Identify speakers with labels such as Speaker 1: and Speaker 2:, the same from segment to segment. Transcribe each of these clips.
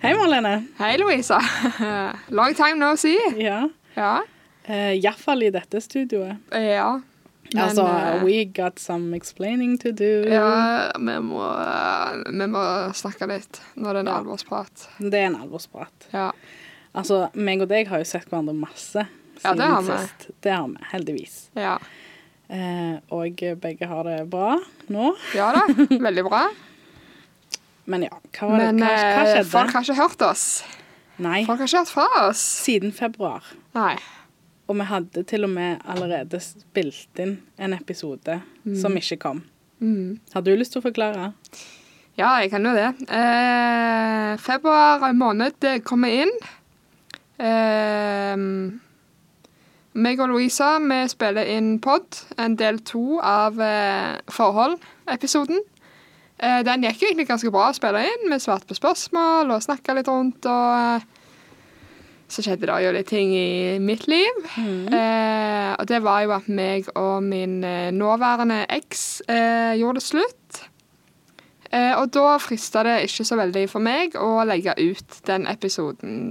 Speaker 1: Hei, Marlene.
Speaker 2: Hei, Louisa. Long time no see.
Speaker 1: Ja.
Speaker 2: Ja.
Speaker 1: Uh, Iallfall i dette studioet.
Speaker 2: ja. Men,
Speaker 1: altså,
Speaker 2: eh,
Speaker 1: we got some explaining to do.
Speaker 2: Ja, vi må, vi må snakke litt når det er en alvorsprat.
Speaker 1: Det er en alvorsprat.
Speaker 2: Ja.
Speaker 1: Altså, meg og deg har jo sett hverandre masse
Speaker 2: Ja,
Speaker 1: siden
Speaker 2: det har vi.
Speaker 1: sist. Det har vi, heldigvis.
Speaker 2: ja.
Speaker 1: Eh, og begge har det bra nå.
Speaker 2: Ja da, veldig bra.
Speaker 1: Men ja, hva, var det,
Speaker 2: Men
Speaker 1: hva, hva
Speaker 2: eh,
Speaker 1: skjedde?
Speaker 2: folk har ikke hørt oss.
Speaker 1: Nei,
Speaker 2: Folk har ikke hørt fra oss.
Speaker 1: siden februar.
Speaker 2: Nei.
Speaker 1: Og vi hadde til og med allerede spilt inn en episode som ikke kom.
Speaker 2: Mm.
Speaker 1: Har du lyst til å forklare?
Speaker 2: Ja, jeg kan jo det. Eh, februar måned eh, kommer inn. Eh, meg og Louisa vi spiller inn pod, en del to av eh, Forhold-episoden. Eh, den gikk jo egentlig ganske bra å spille inn. Vi svarte på spørsmål og snakka litt rundt. og... Eh, så skjedde det jo litt ting i mitt liv. Eh, og det var jo at meg og min eh, nåværende eks eh, gjorde det slutt. Eh, og da frista det ikke så veldig for meg å legge ut den episoden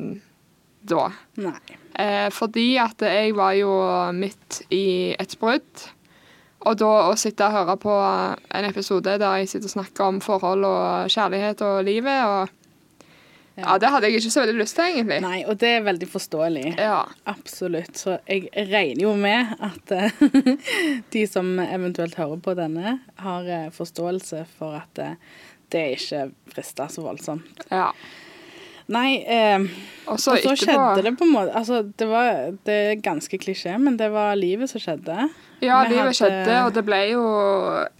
Speaker 2: da.
Speaker 1: Nei.
Speaker 2: Eh, fordi at jeg var jo midt i et brudd. Og da å sitte og høre på en episode der jeg sitter og snakker om forhold og kjærlighet og livet og Ja, det hadde jeg ikke så veldig lyst til, egentlig.
Speaker 1: Nei, og det er veldig forståelig.
Speaker 2: Ja.
Speaker 1: Absolutt. Så jeg regner jo med at eh, de som eventuelt hører på denne, har eh, forståelse for at eh, det ikke frister så voldsomt.
Speaker 2: ja.
Speaker 1: Nei, eh,
Speaker 2: Og så
Speaker 1: og så skjedde
Speaker 2: etterpå
Speaker 1: det på en måte Altså, det var det er ganske klisjé, men det var livet som skjedde.
Speaker 2: Ja,
Speaker 1: Vi
Speaker 2: livet
Speaker 1: hadde-
Speaker 2: skjedde, og det ble jo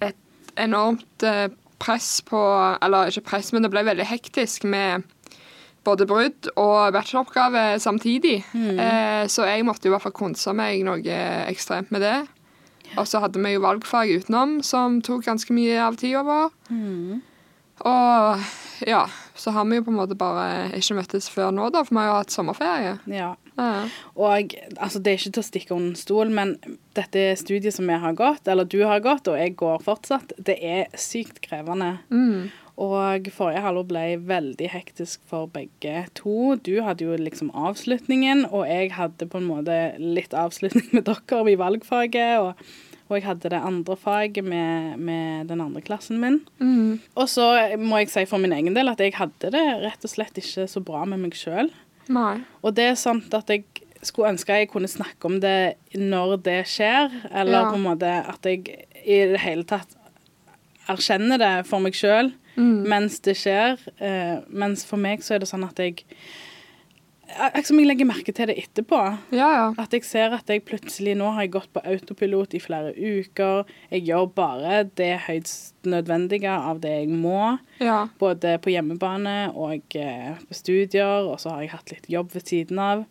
Speaker 2: et enormt eh, press på Eller ikke press, men det ble veldig hektisk med både brudd og bacheloroppgave samtidig.
Speaker 1: Mm.
Speaker 2: Eh, så jeg måtte jo i hvert fall konse meg noe ekstremt med det. Og så hadde vi jo valgfag utenom, som tok ganske mye av tida vår.
Speaker 1: Mm.
Speaker 2: Og ja, så har vi jo på en måte bare ikke møttes før nå, da, for vi har jo hatt sommerferie.
Speaker 1: Ja.
Speaker 2: Ja.
Speaker 1: Og altså, det er ikke til å stikke under en stol, men dette studiet som jeg har gått, eller du har gått, og jeg går fortsatt, det er sykt krevende.
Speaker 2: Mm.
Speaker 1: Og forrige halvår ble veldig hektisk for begge to. Du hadde jo liksom avslutningen, og jeg hadde på en måte litt avslutning med dere i valgfaget. Og, og jeg hadde det andre faget med, med den andre klassen min.
Speaker 2: Mm.
Speaker 1: Og så må jeg si for min egen del at jeg hadde det rett og slett ikke så bra med meg sjøl.
Speaker 2: Nei.
Speaker 1: Og det er sant at jeg skulle ønske jeg kunne snakke om det når det skjer, eller
Speaker 2: Ja.
Speaker 1: på en måte at jeg i det hele tatt erkjenner det for meg sjøl
Speaker 2: Mm.
Speaker 1: mens det skjer. Eh, mens for meg så er det sånn at jeg Akkurat som jeg legger merke til det etterpå.
Speaker 2: Ja, ja.
Speaker 1: At jeg ser at jeg plutselig nå har jeg gått på autopilot i flere uker. Jeg gjør bare det høyst nødvendige av det jeg må.
Speaker 2: ja.
Speaker 1: Både på hjemmebane og eh, på studier, og så har jeg hatt litt jobb ved siden av.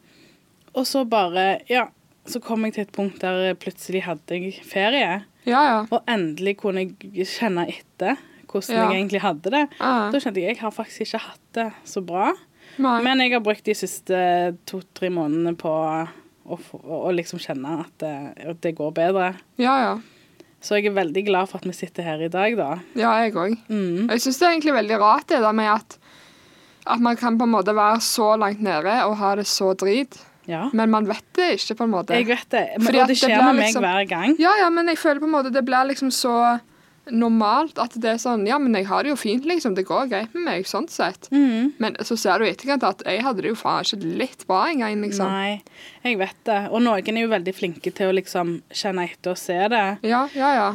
Speaker 1: Og så bare, ja, så kom jeg til et punkt der plutselig hadde jeg ferie,
Speaker 2: Ja, ja.
Speaker 1: og endelig kunne jeg kjenne etter hvordan
Speaker 2: Ja.
Speaker 1: jeg egentlig hadde det.
Speaker 2: Ja.
Speaker 1: Da skjønte jeg jeg har faktisk ikke hatt det så bra,
Speaker 2: Nei.
Speaker 1: men jeg har brukt de siste to-tre månedene på å, få- å liksom kjenne at det, at det går bedre.
Speaker 2: ja, ja.
Speaker 1: Så jeg er veldig glad for at vi sitter her i dag, da.
Speaker 2: ja, jeg òg.
Speaker 1: Mm.
Speaker 2: Jeg syns det er egentlig veldig rart det der med at, at man kan på en måte være så langt nede og ha det så drit,
Speaker 1: Ja.
Speaker 2: men man vet det ikke, på en måte.
Speaker 1: Jeg vet det. Men,
Speaker 2: Fordi
Speaker 1: og
Speaker 2: at
Speaker 1: det
Speaker 2: det
Speaker 1: skjer
Speaker 2: blir
Speaker 1: med meg
Speaker 2: liksom-
Speaker 1: hver gang.
Speaker 2: Ja, ja, men jeg føler på en måte det blir liksom så normalt at det er sånn Ja, men jeg har det jo fint, liksom. Det går greit med meg, sånn sett.
Speaker 1: Mm.
Speaker 2: Men så ser du i etterkant at jeg hadde det jo faen ikke litt bra engang, liksom.
Speaker 1: Nei, jeg vet det. Og noen er jo veldig flinke til å liksom kjenne etter og se det.
Speaker 2: Ja, ja, ja.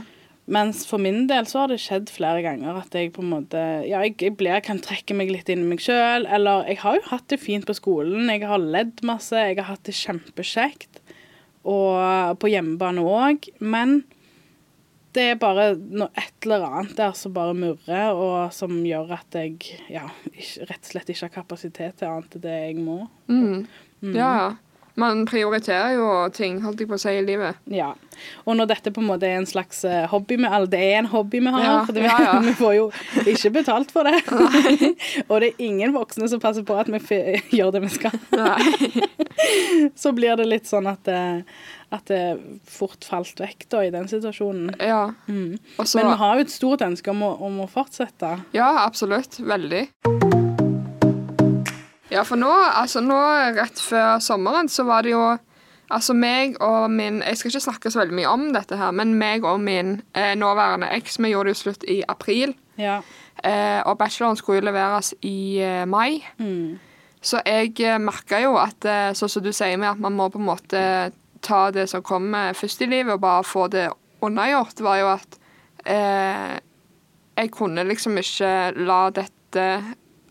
Speaker 1: Mens for min del så har det skjedd flere ganger at jeg på en måte Ja, jeg, jeg blir, kan trekke meg litt inn i meg sjøl. Eller jeg har jo hatt det fint på skolen. Jeg har ledd masse. Jeg har hatt det kjempekjekt. Og på hjemmebane òg. Men det er bare noe et eller annet der som bare murrer, og som gjør at jeg ja, ikke, rett og slett ikke har kapasitet til annet enn det jeg må.
Speaker 2: Mm. Ja, ja. Man prioriterer jo ting, holdt jeg på å si, i livet.
Speaker 1: Ja. Og når dette på en måte er en slags eh, hobby med alle, det er en hobby vi har,
Speaker 2: Ja,
Speaker 1: for det,
Speaker 2: ja, ja.
Speaker 1: vi får jo ikke betalt for det. og det er ingen voksne som passer på at vi fi- gjør det vi skal.
Speaker 2: Nei.
Speaker 1: Så blir det litt sånn at, eh, at det fort falt vekk da, i den situasjonen.
Speaker 2: Ja.
Speaker 1: Mm.
Speaker 2: Og så
Speaker 1: Men vi har jo et stort ønske om å, om å fortsette.
Speaker 2: Ja, absolutt. Veldig. Ja, for nå, altså nå rett før sommeren, så var det jo Altså meg og min Jeg skal ikke snakke så veldig mye om dette her, men meg og min eh, nåværende eks, vi gjorde det jo slutt i april.
Speaker 1: Ja.
Speaker 2: Eh, og bacheloren skulle jo leveres i eh, mai. Så jeg eh, merka jo at eh, sånn som du sier med at man må på en måte ta det som kommer først i livet, og bare få det unnagjort, var jo at eh, jeg kunne liksom ikke la dette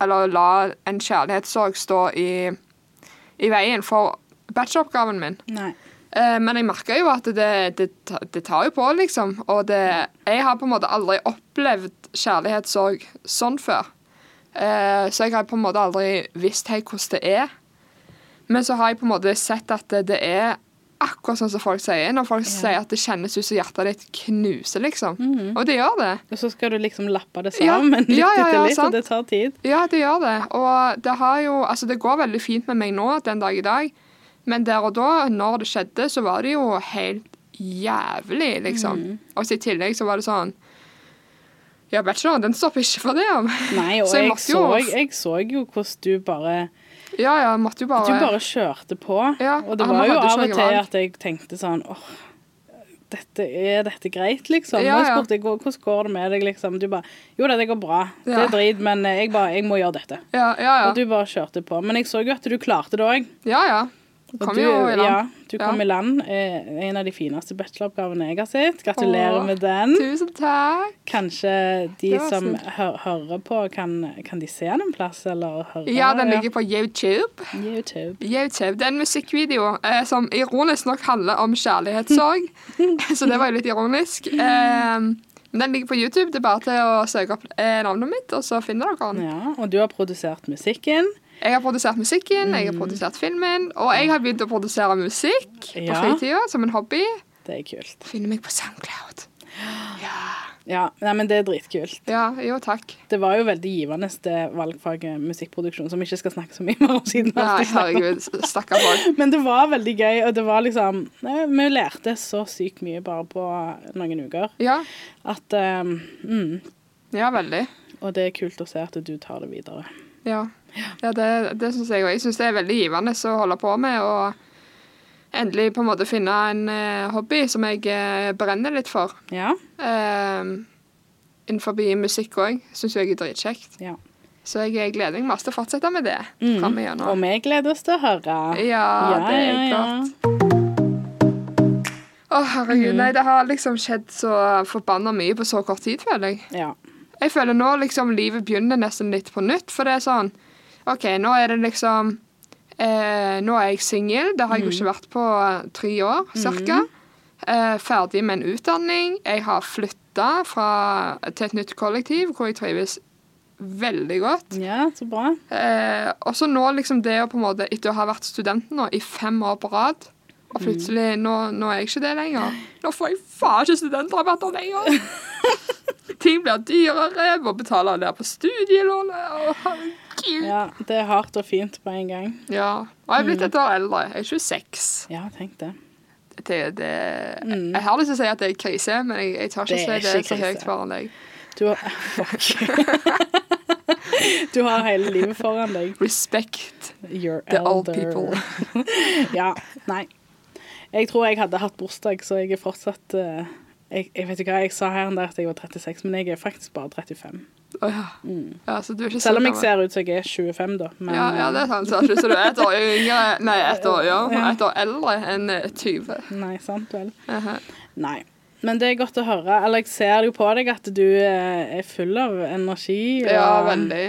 Speaker 2: Eller la en kjærlighetssorg stå i, i veien for bacheloroppgaven min.
Speaker 1: Nei.
Speaker 2: Eh, men jeg merker jo at det, det, ta- det tar jo på, liksom. Og det, jeg har på en måte aldri opplevd kjærlighetssorg sånn før. Eh, så jeg har på en måte aldri visst helt hvordan det er. Men så har jeg på en måte sett at det, det er akkurat sånn som folk sier. Når folk sier at det kjennes ut som hjertet ditt knuser, liksom. Og det gjør det.
Speaker 1: Og så skal du liksom lappe det
Speaker 2: Ja.
Speaker 1: sammen litt
Speaker 2: Ja, ja, ja,
Speaker 1: etter litt,
Speaker 2: sant.
Speaker 1: og det tar tid.
Speaker 2: Ja, det gjør det. Og det har jo Altså, det går veldig fint med meg nå den dag i dag, men der og da, når det skjedde, så var det jo helt jævlig, liksom.
Speaker 1: Mm.
Speaker 2: Og så i tillegg så var det sånn Ja, bacheloren, den stopper ikke for det. om.
Speaker 1: Nei, og
Speaker 2: Så jeg
Speaker 1: jeg,
Speaker 2: måtte
Speaker 1: så,
Speaker 2: jo-
Speaker 1: jeg så jo hvordan du bare
Speaker 2: Ja, ja, måtte jo bare,
Speaker 1: Du bare kjørte på.
Speaker 2: Ja,
Speaker 1: og det
Speaker 2: han
Speaker 1: var jo
Speaker 2: hadde ikke
Speaker 1: av og
Speaker 2: noe
Speaker 1: til
Speaker 2: valg.
Speaker 1: at jeg tenkte sånn åh, dette, Er dette greit, liksom?
Speaker 2: Ja,
Speaker 1: og jeg
Speaker 2: ja.
Speaker 1: spurte «Hvor- hvordan går det med deg, liksom. Du bare Jo da, det går bra. Det
Speaker 2: Ja.
Speaker 1: er drit, men eh, jeg bare Jeg må gjøre dette.
Speaker 2: Ja, ja.
Speaker 1: Og
Speaker 2: Ja,
Speaker 1: du bare kjørte på. Men jeg så jo at du klarte det òg.
Speaker 2: ja. ja.
Speaker 1: Og
Speaker 2: Kom
Speaker 1: du-
Speaker 2: jo i
Speaker 1: Ja,
Speaker 2: land.
Speaker 1: du kom
Speaker 2: Ja.
Speaker 1: i land. Eh, en av de fineste bacheloroppgavene jeg har sett. Gratulerer
Speaker 2: Åh.
Speaker 1: med den.
Speaker 2: Tusen takk.
Speaker 1: Kanskje de
Speaker 2: Det var
Speaker 1: som
Speaker 2: snilt.
Speaker 1: hø hører på, kan, kan de se den plass, eller høre?
Speaker 2: Ja, den ligger på YouTube.
Speaker 1: YouTube.
Speaker 2: YouTube. Det er en musikkvideo eh, som ironisk nok handler om kjærlighetssorg. så det var jo litt ironisk. Eh, men den ligger på YouTube. Det er bare til å søke opp eh, navnet mitt, og så finner dere den.
Speaker 1: Ja, og du har produsert musikken.
Speaker 2: Jeg har produsert musikken, jeg har
Speaker 1: Mm.
Speaker 2: produsert filmen, og jeg har begynt å produsere musikk på
Speaker 1: Ja.
Speaker 2: fritida som en hobby.
Speaker 1: Det er kult.
Speaker 2: Finner meg på SoundCloud.
Speaker 1: Ja, nei, men det er dritkult.
Speaker 2: Ja, jo takk.
Speaker 1: Det var jo veldig givende det valgfaget musikkproduksjon, som vi ikke skal snakke så mye mer om siden. vi
Speaker 2: Nei,
Speaker 1: alltid snakker om.
Speaker 2: herregud, stakkar folk.
Speaker 1: Men det var veldig gøy, og det var liksom nei, Vi lærte så sykt mye bare på noen uker
Speaker 2: Ja,
Speaker 1: at eh, mm,
Speaker 2: ja veldig.
Speaker 1: Og det er kult å se at du tar det videre.
Speaker 2: Ja, ja det, det syns jeg òg. Jeg syns det er veldig givende å holde på med. Og endelig på en måte finne en eh, hobby som jeg eh, brenner litt for.
Speaker 1: Ja.
Speaker 2: Um, innenfor musikk òg. Syns jeg er dritkjekt.
Speaker 1: ja.
Speaker 2: Så jeg eh, gleder meg masse til å fortsette med det
Speaker 1: Mm.
Speaker 2: fram
Speaker 1: Og
Speaker 2: igjennom.
Speaker 1: vi gleder oss til å høre.
Speaker 2: Ja, det er godt. Å, herregud, nei, det har liksom skjedd så forbanna mye på så kort tid, føler jeg.
Speaker 1: Ja.
Speaker 2: Jeg føler nå liksom livet begynner nesten litt på nytt, for det er sånn OK, nå er det liksom eh, Nå er jeg singel, det har jeg jo ikke vært på eh, tre år cirka. Eh, ferdig med en utdanning. Jeg har flytta til et nytt kollektiv hvor jeg trives veldig godt.
Speaker 1: ja, så bra.
Speaker 2: Eh, og så nå liksom det å på en måte, etter å ha vært student nå i fem år på rad,
Speaker 1: Mm.
Speaker 2: og plutselig nå, nå er jeg ikke det lenger. Nå får jeg faen ikke studentrabatter lenger! Ting blir dyrere, må betale ned på studielånet, og herregud. Ja.
Speaker 1: Ja, Mm. det er hardt og fint på en gang.
Speaker 2: Og jeg er blitt et år eldre. Jeg er 26.
Speaker 1: Ja, tenk det.
Speaker 2: Det, det, Jeg har lyst til å si at det er krise, men jeg, jeg tar
Speaker 1: Mm. Det
Speaker 2: ikke si
Speaker 1: er
Speaker 2: det
Speaker 1: ikke
Speaker 2: så høyt
Speaker 1: krise.
Speaker 2: foran deg.
Speaker 1: Du har Fuck. Du har hele livet foran deg.
Speaker 2: Respect
Speaker 1: You're
Speaker 2: the old
Speaker 1: elder.
Speaker 2: people.
Speaker 1: Ja. Nei. Jeg tror jeg hadde hatt bursdag, så jeg er fortsatt eh, jeg, jeg vet ikke hva jeg sa her en dag at jeg var 36, men jeg er faktisk bare 35.
Speaker 2: Å ja. ja, så du er ikke så
Speaker 1: Mm. Selv om jeg
Speaker 2: gammel.
Speaker 1: ser ut som jeg er 25, da. Men
Speaker 2: Ja, ja, det er sant. Så er du et år yngre Nei, et år, ja. et år eldre enn eh, 20.
Speaker 1: eh, Nei, sant vel.
Speaker 2: Aha.
Speaker 1: Nei. Men det er godt å høre. Eller jeg ser jo på deg at du eh, er full av energi.
Speaker 2: Ja,
Speaker 1: og-
Speaker 2: veldig.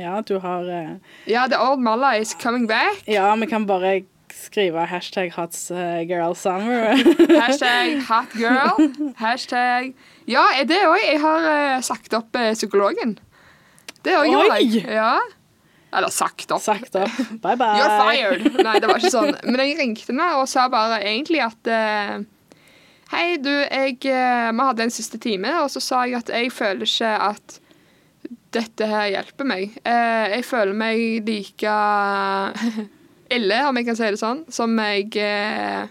Speaker 1: Ja, du har eh,
Speaker 2: Ja, The Old Malla is coming back.
Speaker 1: Ja, vi kan bare skrive hashtag hot eh, girl summer.
Speaker 2: Hashtag hot girl. Hashtag Ja, er det òg. Jeg har eh, sagt opp eh, psykologen. Det òg gjorde jeg.
Speaker 1: Oi!
Speaker 2: Ja. Eller sagt opp.
Speaker 1: Sagt opp. Bye bye.
Speaker 2: You're fired! Nei, det var ikke sånn. Men jeg ringte henne og sa bare egentlig at eh, Hei, du, jeg eh, Vi hadde en siste time, og så sa jeg at jeg føler ikke at dette her hjelper meg. Eh, jeg føler meg like ille, om jeg kan si det sånn, som jeg eh,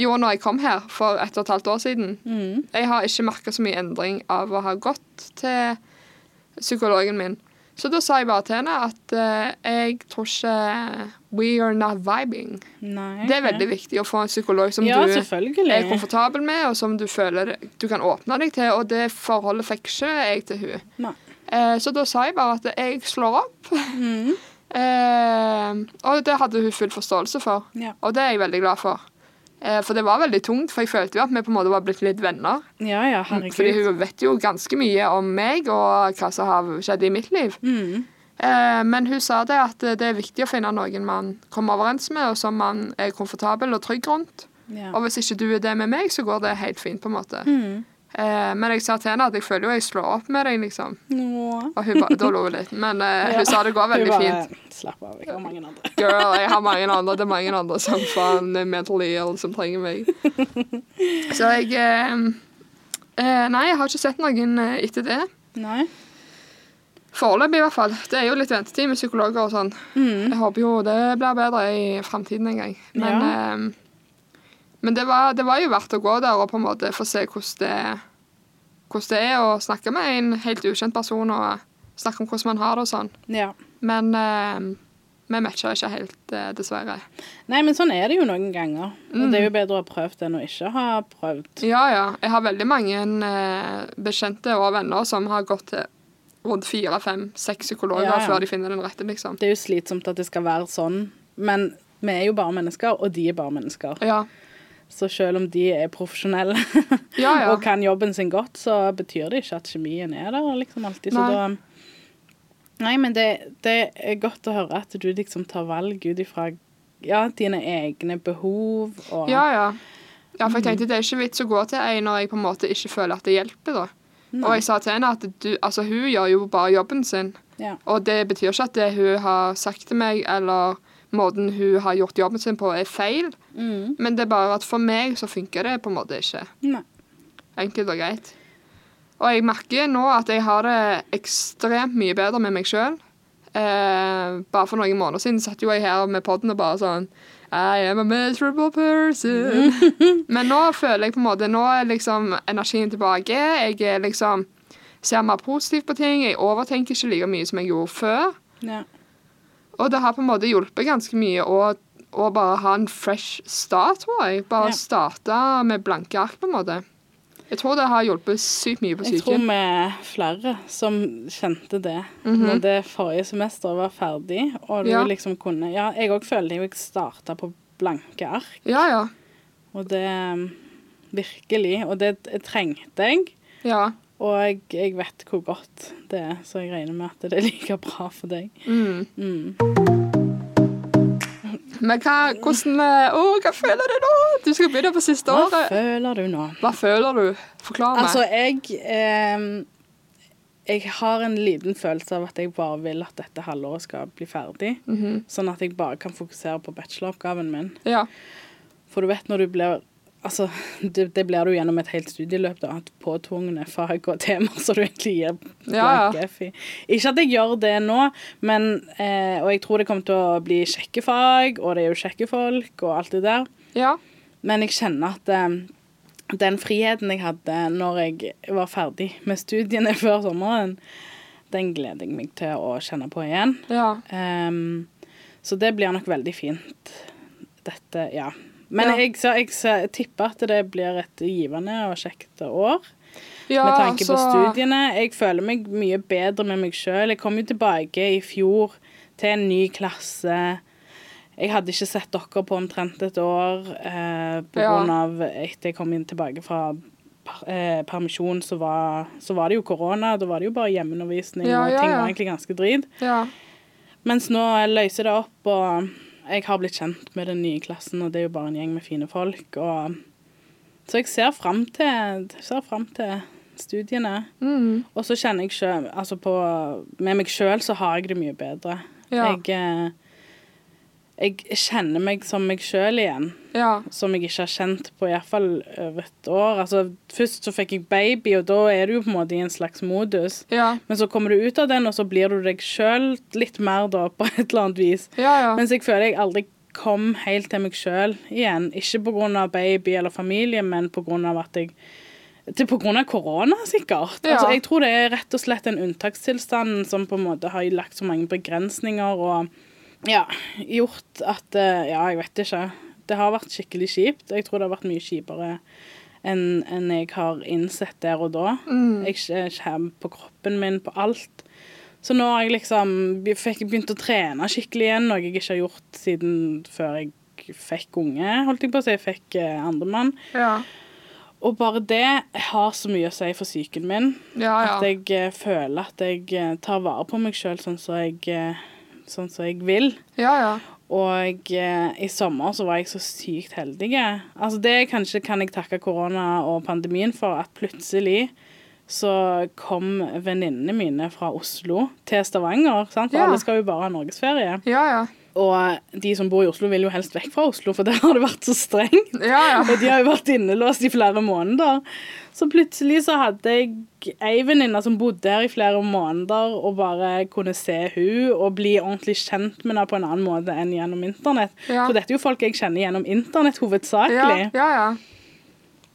Speaker 2: gjorde når jeg kom her for ett og et halvt år siden.
Speaker 1: Mm,
Speaker 2: Jeg har ikke merka så mye endring av å ha gått til psykologen min. Så da sa jeg bare til henne at eh, jeg tror ikke We are not vibing.
Speaker 1: Nei.
Speaker 2: Det er veldig viktig å få en psykolog som
Speaker 1: ja,
Speaker 2: du er
Speaker 1: selvfølgelig.
Speaker 2: komfortabel med, og som du føler du kan åpne deg til. Og det forholdet fikk ikke jeg til hun.
Speaker 1: Nei.
Speaker 2: Eh, så da sa jeg bare at jeg slår opp.
Speaker 1: Mm.
Speaker 2: Eh, og det hadde hun full forståelse for.
Speaker 1: Ja.
Speaker 2: Og det er jeg veldig glad for. Eh, for det var veldig tungt, for jeg følte jo at vi på en måte var blitt litt venner.
Speaker 1: ja, ja,
Speaker 2: Mm, Fordi
Speaker 1: herregud.
Speaker 2: hun vet jo ganske mye om meg og hva som har skjedd i mitt liv.
Speaker 1: Mm.
Speaker 2: Eh, men hun sa det at det er viktig å finne noen man kommer overens med, og som man er komfortabel og trygg rundt.
Speaker 1: Ja.
Speaker 2: Og hvis ikke du er det med meg, så går det helt fint, på en måte.
Speaker 1: Mm.
Speaker 2: Eh, men jeg sa til henne at jeg føler jo jeg slår opp med deg, liksom.
Speaker 1: Nå.
Speaker 2: Og hun ba, da lo hun litt. Men eh,
Speaker 1: Ja.
Speaker 2: hun sa det går veldig
Speaker 1: Hun bare,
Speaker 2: fint.
Speaker 1: Slapp av, jeg har mange andre.
Speaker 2: Girl, jeg har mange andre. Det er mange andre som faen er mentally ill som trenger meg. Så jeg eh, eh, Nei, jeg har ikke sett noen eh, etter det.
Speaker 1: Nei.
Speaker 2: Foreløpig, i hvert fall. Det er jo litt ventetid med psykologer og sånn.
Speaker 1: Mm.
Speaker 2: Jeg håper jo det blir bedre i framtiden en gang. Men, eh, men det, var, det var jo verdt å gå der og på en måte få se hvordan det, hvordan det er å snakke med en helt ukjent person og snakke om hvordan man har det og sånn.
Speaker 1: Ja.
Speaker 2: Men eh, vi matcha ikke helt, eh, dessverre.
Speaker 1: Nei, men sånn er det jo noen ganger. Og
Speaker 2: Mm.
Speaker 1: det er jo bedre å ha prøvd enn å ikke ha prøvd.
Speaker 2: Ja, ja. Jeg har veldig mange eh, bekjente og venner som har gått til rundt fire, fem, seks psykologer
Speaker 1: Ja, ja.
Speaker 2: før de finner den rette, liksom.
Speaker 1: Det er jo slitsomt at det skal være sånn, men vi er jo bare mennesker, og de er bare mennesker.
Speaker 2: Ja,
Speaker 1: Så selv om de er profesjonelle
Speaker 2: ja. ja.
Speaker 1: og kan jobben sin godt, så betyr det ikke at kjemien er der liksom alltid. Så
Speaker 2: Nei.
Speaker 1: da Nei, men det, det er godt å høre at du liksom tar valg ut ifra ja, dine egne behov og
Speaker 2: Ja, ja. Ja, for jeg tenkte Det er ikke vits å gå til ei når jeg på en måte ikke føler at det hjelper. da. Og jeg sa til henne at du, altså, hun gjør jo bare jobben sin.
Speaker 1: Ja.
Speaker 2: Og det betyr ikke at det hun har sagt til meg, eller måten hun har gjort jobben sin på, er feil.
Speaker 1: Mm.
Speaker 2: Men det er bare at for meg så funker det på en måte ikke.
Speaker 1: Nei.
Speaker 2: Enkelt og greit. Og jeg merker nå at jeg har det ekstremt mye bedre med meg sjøl. Eh, bare for noen måneder siden satt jo jeg her med podden og bare sånn I am a miserable person. Men nå føler jeg på en måte Nå er liksom energien tilbake. Jeg er liksom ser mer positivt på ting. Jeg overtenker ikke like mye som jeg gjorde før.
Speaker 1: Ja.
Speaker 2: Og det har på en måte hjulpet ganske mye å, å bare ha en fresh start, tror jeg. Bare
Speaker 1: Ja.
Speaker 2: starte med blanke ark, på en måte. Jeg tror det har hjulpet sykt mye på
Speaker 1: Jeg tror
Speaker 2: psyken.
Speaker 1: vi er flere som kjente det når det forrige semesteret var ferdig, og
Speaker 2: Mhm.
Speaker 1: du
Speaker 2: Ja.
Speaker 1: liksom kunne Ja, jeg òg følte jeg starta på blanke ark,
Speaker 2: Ja, ja.
Speaker 1: og det um, Virkelig. Og det t- trengte jeg,
Speaker 2: Ja.
Speaker 1: og jeg, jeg vet hvor godt det er, så jeg regner med at det er like bra for deg.
Speaker 2: Mm.
Speaker 1: Mm.
Speaker 2: Men hva, hvordan eh, Å, hva føler du nå? Du skal begynne på siste
Speaker 1: Hva
Speaker 2: året.
Speaker 1: føler du nå?
Speaker 2: Hva føler du? Forklar meg.
Speaker 1: Altså, jeg ehm, Jeg har en liten følelse av at jeg bare vil at dette halvåret skal bli ferdig.
Speaker 2: Mhm.
Speaker 1: Sånn at jeg bare kan fokusere på bacheloroppgaven min.
Speaker 2: Ja.
Speaker 1: For du vet når du blir Altså, det, det blir du gjennom et helt studieløp, da. At påtvungne fag og temaer som du egentlig gir
Speaker 2: Ja, ja.
Speaker 1: blank F i. Ikke at jeg gjør det nå, men eh, Og jeg tror det kommer til å bli kjekke fag, og det er jo kjekke folk, og alt det der.
Speaker 2: ja.
Speaker 1: Men jeg kjenner at eh, den friheten jeg hadde når jeg var ferdig med studiene før sommeren, den gleder jeg meg til å kjenne på igjen.
Speaker 2: Ja.
Speaker 1: Ehm, så det blir nok veldig fint, dette, ja. Men
Speaker 2: Ja.
Speaker 1: jeg, så, jeg, så, jeg tipper at det blir et givende og kjekt år
Speaker 2: ja
Speaker 1: med tanke på
Speaker 2: altså-
Speaker 1: studiene. Jeg føler meg mye bedre med meg sjøl. Jeg kom jo tilbake i fjor til en ny klasse. Jeg hadde ikke sett dere på omtrent et år eh, på
Speaker 2: Ja.
Speaker 1: grunn av etter jeg kom inn tilbake fra per- eh, permisjon, så var, så var det jo korona. Da var det jo bare hjemmeundervisning,
Speaker 2: Ja,
Speaker 1: og
Speaker 2: ja,
Speaker 1: ting
Speaker 2: ja.
Speaker 1: var egentlig ganske drit.
Speaker 2: Ja.
Speaker 1: Mens nå løser det opp, og jeg har blitt kjent med den nye klassen, og det er jo bare en gjeng med fine folk. Og... Så jeg ser fram til, ser frem til studiene.
Speaker 2: Mm.
Speaker 1: Og så kjenner jeg selv, altså på, med meg sjøl så har jeg det mye bedre.
Speaker 2: Ja.
Speaker 1: Jeg, eh, jeg kjenner meg som meg sjøl igjen,
Speaker 2: ja.
Speaker 1: som jeg ikke har kjent på iallfall over et år. Altså, først så fikk jeg baby, og da er du jo på en måte i en slags modus.
Speaker 2: Ja.
Speaker 1: Men så kommer du ut av den, og så blir du deg sjøl litt mer, da, på et eller annet vis.
Speaker 2: Ja, ja.
Speaker 1: Mens jeg føler jeg aldri kom helt til meg sjøl igjen. Ikke pga. baby eller familie, men pga. at jeg Til på grunn av korona, sikkert.
Speaker 2: Ja.
Speaker 1: Altså, jeg tror det er rett og slett en unntakstilstand som på en måte har lagt så mange begrensninger og ja, gjort at eh, Ja, jeg vet ikke. Det har vært skikkelig kjipt. Jeg tror det har vært mye kjipere enn enn jeg har innsett der og da. Jeg kj- kjenner på kroppen min, på alt. Så nå har jeg liksom be- fikk begynt å trene skikkelig igjen, noe jeg ikke har gjort siden før jeg fikk unge, holdt jeg på å si. Jeg fikk eh, andremann.
Speaker 2: Ja.
Speaker 1: Og bare det har så mye å si for psyken min.
Speaker 2: Ja,
Speaker 1: At
Speaker 2: ja.
Speaker 1: jeg eh, føler at jeg eh, tar vare på meg sjøl sånn som jeg, eh, sånn som jeg vil.
Speaker 2: ja, ja.
Speaker 1: Og eh, i sommer så var jeg så sykt heldig. Altså det kanskje kan jeg takke korona og pandemien for, at plutselig så kom venninnene mine fra Oslo til Stavanger. Sant? For
Speaker 2: Ja.
Speaker 1: alle skal jo bare ha norgesferie.
Speaker 2: Ja, ja.
Speaker 1: Og de som bor i Oslo, vil jo helst vekk fra Oslo, for der har det vært så strengt.
Speaker 2: Ja, ja.
Speaker 1: Og de har jo vært innelåst i flere måneder. Så plutselig så hadde jeg ei venninne som bodde her i flere måneder, og bare kunne se hun og bli ordentlig kjent med henne på en annen måte enn gjennom internett.
Speaker 2: Ja.
Speaker 1: For dette er jo folk jeg kjenner gjennom internett
Speaker 2: Ja,
Speaker 1: hovedsakelig.
Speaker 2: ja, ja.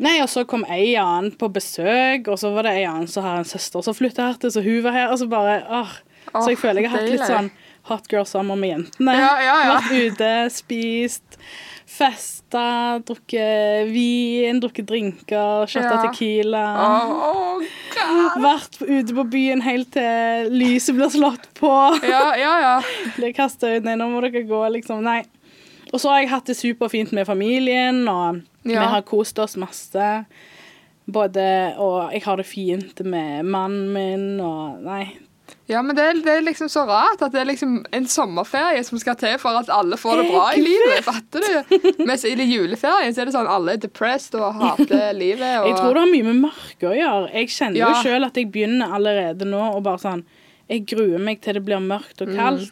Speaker 1: Nei, og så kom ei annen på besøk, og så var det ei annen som har en søster som flytta her til, så hun var her, og så bare åh.
Speaker 2: Åh,
Speaker 1: Så jeg føler jeg har hatt litt
Speaker 2: deilig.
Speaker 1: sånn hot girl summer med jentene.
Speaker 2: Ja, ja, ja.
Speaker 1: Vært ute, spist, festa, drukket vin, drukket drinker, shotta
Speaker 2: Ja.
Speaker 1: tequila.
Speaker 2: Åh, åh, god.
Speaker 1: Vært ute på byen helt til lyset blir slått på.
Speaker 2: Ja, ja, ja.
Speaker 1: Blir kasta ut. Nei, nå må dere gå, liksom. Nei. Og så har jeg hatt det superfint med familien, og vi
Speaker 2: Ja.
Speaker 1: har kost oss masse. Både Og jeg har det fint med mannen min, og Nei.
Speaker 2: Ja, men det er, det er liksom så rart at det er liksom en sommerferie som skal til for at alle får det bra i
Speaker 1: Jeg
Speaker 2: livet. Fatter du? Mens i juleferien så er det sånn alle er depressed og hater livet. Og...
Speaker 1: Jeg tror det har mye med mørket å gjøre. Jeg kjenner
Speaker 2: Ja.
Speaker 1: jo sjøl at jeg begynner allerede nå og bare sånn Jeg gruer meg til det blir mørkt og
Speaker 2: Mm.
Speaker 1: kaldt.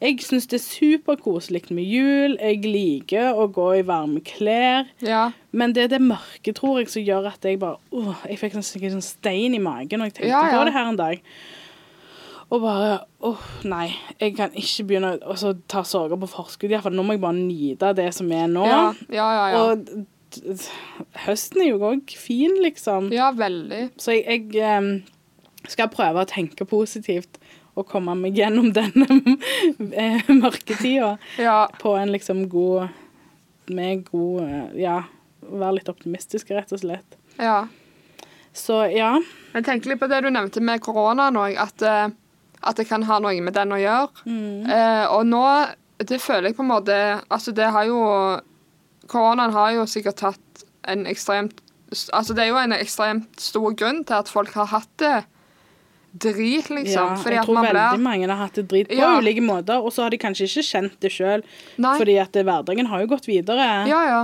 Speaker 1: Jeg syns det er superkoselig med jul. Jeg liker å gå i varme klær.
Speaker 2: Ja,
Speaker 1: Men det er det mørke, tror jeg, som gjør at jeg bare åh, Jeg fikk sånn, sikkert sånn stein i magen når jeg tenkte
Speaker 2: Ja, ja.
Speaker 1: på det her en dag. Og bare åh, nei. Jeg kan ikke begynne å altså, ta sorger på forskudd. Iallfall nå må jeg bare nyte det som er nå.
Speaker 2: ja, ja. ja, ja.
Speaker 1: Og d- d- høsten er jo òg fin, liksom.
Speaker 2: ja veldig.
Speaker 1: Så jeg, jeg em, skal prøve å tenke positivt og komme meg gjennom denne eh, mørketida
Speaker 2: Ja,
Speaker 1: på en liksom god Med god eh, Ja, være litt optimistisk, rett og slett.
Speaker 2: ja.
Speaker 1: Så ja.
Speaker 2: Jeg tenker litt på det du nevnte med koronaen òg, at, eh, at det kan ha noe med den å gjøre.
Speaker 1: Mm.
Speaker 2: Eh, og nå, det føler jeg på en måte Altså, det har jo Koronaen har jo sikkert tatt en ekstremt Altså, det er jo en ekstremt stor grunn til at folk har hatt det drit, liksom.
Speaker 1: ja
Speaker 2: fordi
Speaker 1: jeg
Speaker 2: at
Speaker 1: tror
Speaker 2: man
Speaker 1: veldig
Speaker 2: blir
Speaker 1: mange har hatt det drit på
Speaker 2: Ja.
Speaker 1: ulike måter, og så har de kanskje ikke kjent det sjøl,
Speaker 2: Nei.
Speaker 1: fordi at eh, hverdagen har jo gått videre.
Speaker 2: Ja, ja.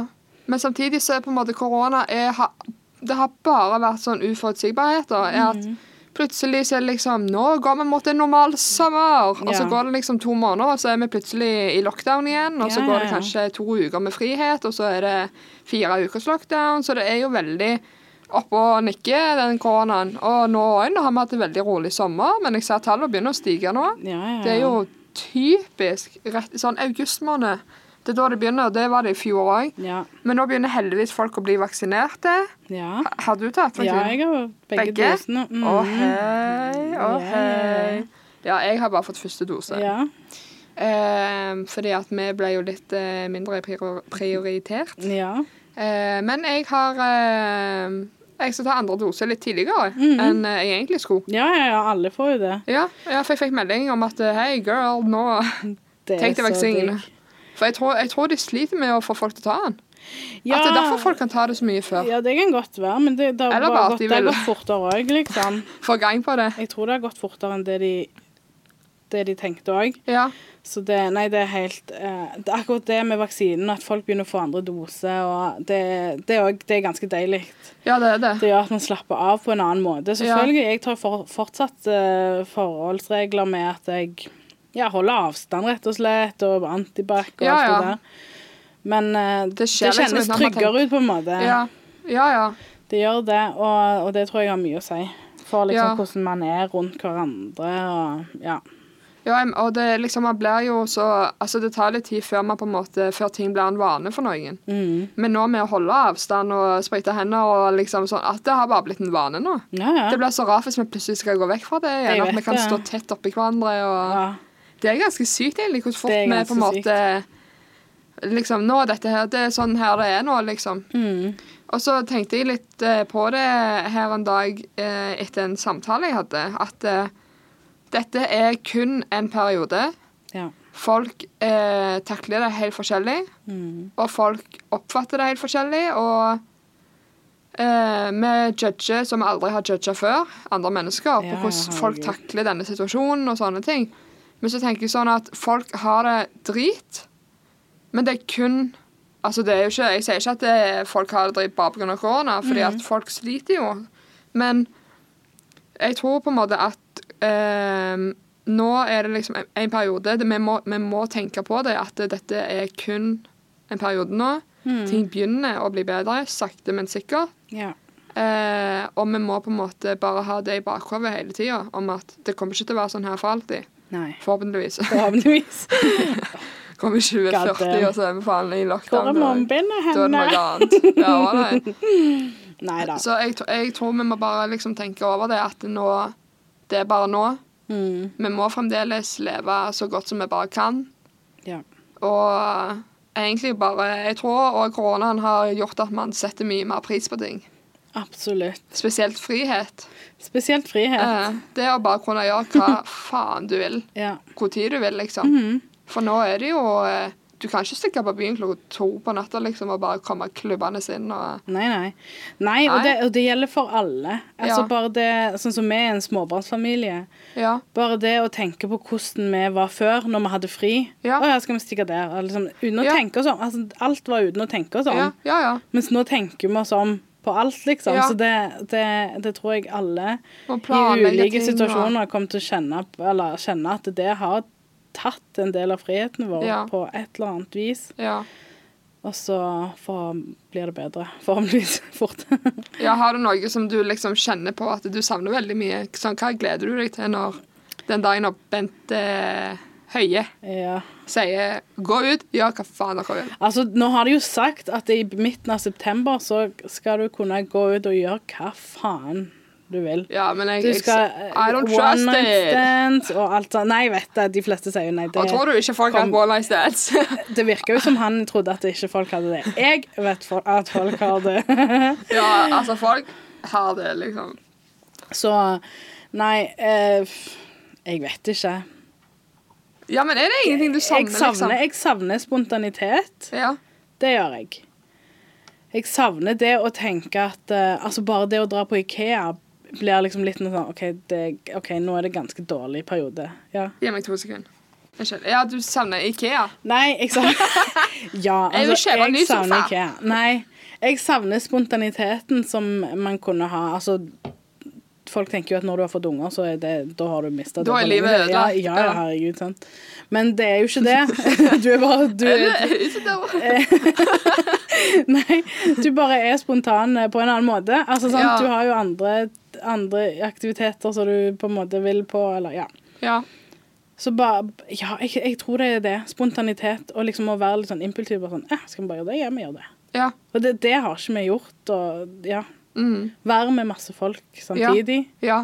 Speaker 2: Men samtidig så er på en måte korona er, ha- Det har bare vært sånn uforutsigbarhet. Da, er at
Speaker 1: Mhm.
Speaker 2: Plutselig så er det liksom Nå går vi mot en normal sommer! Og så
Speaker 1: Ja.
Speaker 2: går det liksom to måneder, og så er vi plutselig i lockdown igjen. Og så
Speaker 1: Ja,
Speaker 2: går
Speaker 1: ja,
Speaker 2: det
Speaker 1: ja.
Speaker 2: kanskje to uker med frihet, og så er det fire ukers lockdown. Så det er jo veldig oppe og nikke, den koronaen. Og nå òg, nå har vi hatt en veldig rolig sommer, men jeg ser tallene begynner å stige nå.
Speaker 1: Ja, ja,
Speaker 2: Det er jo
Speaker 1: ja.
Speaker 2: typisk rett, sånn august måned. Det er da det begynner, og det var det i fjor òg.
Speaker 1: Ja.
Speaker 2: Men nå begynner heldigvis folk å bli vaksinerte.
Speaker 1: ja.
Speaker 2: Har du tatt vaksine?
Speaker 1: Ja, jeg har begge,
Speaker 2: Begge?
Speaker 1: dosene. Mm.
Speaker 2: Å hei, å
Speaker 1: Ja.
Speaker 2: hei. Ja, jeg har bare fått første dose.
Speaker 1: Ja.
Speaker 2: Eh, fordi at vi ble jo litt eh, mindre prior- prioritert.
Speaker 1: ja.
Speaker 2: Eh, men jeg har eh, Jeg skal ta andre dose litt tidligere
Speaker 1: Mm-hmm.
Speaker 2: enn eh, jeg egentlig skulle.
Speaker 1: Ja, ja, ja, alle får jo det.
Speaker 2: Ja, ja, for jeg fikk melding om at eh, Hei, girl, nå
Speaker 1: det er
Speaker 2: Tenk deg
Speaker 1: Eh, så
Speaker 2: vaksinen.
Speaker 1: digg.
Speaker 2: For jeg tror, jeg tror de sliter med å få folk til å ta den.
Speaker 1: Ja,
Speaker 2: At det er derfor folk kan ta det så mye før.
Speaker 1: ja, det kan godt være, men det, det, har,
Speaker 2: Eller
Speaker 1: bare
Speaker 2: bare at
Speaker 1: gått,
Speaker 2: de
Speaker 1: det har
Speaker 2: vil-
Speaker 1: gått fortere òg, liksom.
Speaker 2: Få gang på det.
Speaker 1: Jeg tror det har gått fortere enn det de, det de tenkte òg.
Speaker 2: Ja.
Speaker 1: Så det, nei, det er helt eh, det er Akkurat det med vaksinen, at folk begynner å få andre dose, og det, det, er, også, det er ganske deilig.
Speaker 2: ja, det er det.
Speaker 1: Det gjør at man slapper av på en annen måte. Selvfølgelig, jeg tar for, fortsatt eh, forholdsregler med at jeg ja, holder avstand, rett og slett, og antibac og
Speaker 2: Ja,
Speaker 1: alt
Speaker 2: ja.
Speaker 1: det der. Men eh, det,
Speaker 2: skjer liksom
Speaker 1: kjennes
Speaker 2: uten at man
Speaker 1: tryggere ut, på en måte.
Speaker 2: Ja, ja. ja.
Speaker 1: Det gjør det, og, og det tror jeg har mye å si for
Speaker 2: Ja.
Speaker 1: liksom hvordan man er rundt hverandre og ja.
Speaker 2: Ja, em, og det liksom, man blir jo så Altså, det tar litt tid før man på en måte Før ting blir en vane for noen.
Speaker 1: Mm.
Speaker 2: Men nå med å holde avstand og sprite hender og liksom sånn At det har bare blitt en vane nå.
Speaker 1: Ja, ja.
Speaker 2: Det blir så rart hvis vi plutselig skal gå vekk fra det
Speaker 1: Jeg
Speaker 2: igjen. At
Speaker 1: vet
Speaker 2: vi kan
Speaker 1: det.
Speaker 2: stå tett oppi hverandre. Og...
Speaker 1: ja.
Speaker 2: Det er ganske sykt, egentlig, hvor fort
Speaker 1: Det er
Speaker 2: vi på en
Speaker 1: ganske
Speaker 2: måte Liksom, nå er dette her, det er sånn her det er nå, liksom.
Speaker 1: Mm.
Speaker 2: Og så tenkte jeg litt eh, på det her en dag eh, etter en samtale jeg hadde, at eh, dette er kun en periode.
Speaker 1: Ja.
Speaker 2: Folk eh, takler det helt forskjellig,
Speaker 1: Mm.
Speaker 2: og folk oppfatter det helt forskjellig, og eh, vi judger som vi aldri har judga før, andre mennesker, på
Speaker 1: Ja,
Speaker 2: hvordan folk
Speaker 1: herregud.
Speaker 2: takler denne situasjonen og sånne ting. Men så tenker jeg sånn at folk har det drit, men det er kun Altså, det er jo ikke Jeg sier ikke at det, folk har det drit bare pga. korona, fordi
Speaker 1: Mm.
Speaker 2: at folk sliter jo, men jeg tror på en måte at ehm, nå er det liksom en- en periode det- vi må, vi må tenke på det, at dette er kun en periode nå. Ting begynner å bli bedre, sakte, men sikkert.
Speaker 1: ja.
Speaker 2: Eh, og vi må på en måte bare ha det i bakhodet hele tida, om at det kommer ikke til å være sånn her for alltid.
Speaker 1: Nei.
Speaker 2: Forhåpentligvis.
Speaker 1: Forhåpentligvis.
Speaker 2: Kommer 2040, og så er vi faen i
Speaker 1: Hvor er
Speaker 2: lockdown. og
Speaker 1: munnbindet
Speaker 2: Da er det
Speaker 1: henne?
Speaker 2: noe annet. Ja, nei.
Speaker 1: Nei da.
Speaker 2: Så jeg, tro- jeg tror vi må bare liksom tenke over det, at nå, det er bare nå.
Speaker 1: Mm.
Speaker 2: Vi må fremdeles leve så godt som vi bare kan.
Speaker 1: Ja.
Speaker 2: Og egentlig bare Jeg tror og koronaen har gjort at man setter mye mer pris på ting.
Speaker 1: Absolutt.
Speaker 2: Spesielt frihet.
Speaker 1: Spesielt frihet.
Speaker 2: Eh, Det å bare kunne gjøre hva faen du vil,
Speaker 1: Ja.
Speaker 2: hvor tid du vil, liksom.
Speaker 1: Mhm.
Speaker 2: For nå er det jo eh, Du kan ikke stikke på byen klokka to på natta liksom, og bare komme klubbende inn og
Speaker 1: Nei, nei. Nei, og
Speaker 2: Nei.
Speaker 1: det, og det gjelder for alle. Altså
Speaker 2: Ja.
Speaker 1: bare det, Sånn som vi er en småbarnsfamilie.
Speaker 2: Ja.
Speaker 1: Bare det å tenke på hvordan vi var før, når vi hadde fri.
Speaker 2: Ja.
Speaker 1: Å ja, skal vi stikke der? Og Liksom, uten å
Speaker 2: Ja.
Speaker 1: tenke oss om. Altså, alt var uten å tenke oss om.
Speaker 2: Ja, ja. ja.
Speaker 1: Mens nå tenker vi oss om på alt, liksom.
Speaker 2: Ja.
Speaker 1: Så det, det, det tror jeg alle
Speaker 2: Og
Speaker 1: i
Speaker 2: planlegge
Speaker 1: ulike
Speaker 2: ting og-
Speaker 1: situasjoner kommer til å kjenne, p- eller kjenne at det har tatt en del av friheten vår
Speaker 2: Ja.
Speaker 1: på et eller annet vis.
Speaker 2: Ja.
Speaker 1: Og så får, blir det bedre, forhåpentligvis fort.
Speaker 2: Ja, Har du noe som du liksom kjenner på at du savner veldig mye? Sånn, hva gleder du deg til når den dagen når Bent eh, Høie
Speaker 1: ja.
Speaker 2: sier 'gå ut', gjør hva faen dere vil?
Speaker 1: Altså, nå har de jo sagt at i midten av september så skal du kunne gå ut og gjøre hva faen du vil.
Speaker 2: Ja, men jeg,
Speaker 1: Du
Speaker 2: jeg-
Speaker 1: skal eh,
Speaker 2: I don't trust
Speaker 1: one night
Speaker 2: it!
Speaker 1: stands og alt sånt. Nei, jeg vet det. De fleste sier jo nei. Det,
Speaker 2: Og tror du ikke folk har
Speaker 1: kom-
Speaker 2: one night stands?
Speaker 1: det virker jo som han trodde at ikke folk hadde det. Jeg vet for, at folk har det.
Speaker 2: ja, altså, folk har det, liksom.
Speaker 1: Så nei eh, f- Jeg vet ikke.
Speaker 2: Ja, men er det ingenting du savner,
Speaker 1: Jeg
Speaker 2: liksom?
Speaker 1: savner, jeg savner spontanitet.
Speaker 2: Ja.
Speaker 1: Det gjør jeg. Jeg savner det å tenke at eh, Altså, bare det å dra på Ikea blir liksom litt noe sånn OK, det, ok, nå er det ganske dårlig periode. Ja.
Speaker 2: Gi meg to sekunder. Unnskyld. Ja, du savner Ikea.
Speaker 1: Nei, jeg savner Ja,
Speaker 2: Jeg vil
Speaker 1: altså,
Speaker 2: kjøpe en ny
Speaker 1: jeg savner
Speaker 2: sofa.
Speaker 1: ikke Nei, jeg savner spontaniteten som man kunne ha. Altså, folk tenker jo at når du har fått unger, så er det Da har du mista
Speaker 2: Da er livet ødelagt.
Speaker 1: Ja,
Speaker 2: Ja.
Speaker 1: ja, herregud, sant. Men det er jo ikke det. Du er bare du, Nei, du bare er spontan eh, på en annen måte. Altså, sant,
Speaker 2: Ja.
Speaker 1: du har jo andre, andre aktiviteter som du på en måte vil på, eller ja.
Speaker 2: ja.
Speaker 1: Så bare, ja, jeg, jeg tror det er det. Spontanitet og liksom å være litt sånn impulsiv. Bare sånn, eh, skal vi bare gjøre det? Ja, vi gjør det.
Speaker 2: Ja.
Speaker 1: Og det, det har ikke vi gjort. Og ja,
Speaker 2: Mm.
Speaker 1: være med masse folk samtidig.
Speaker 2: ja.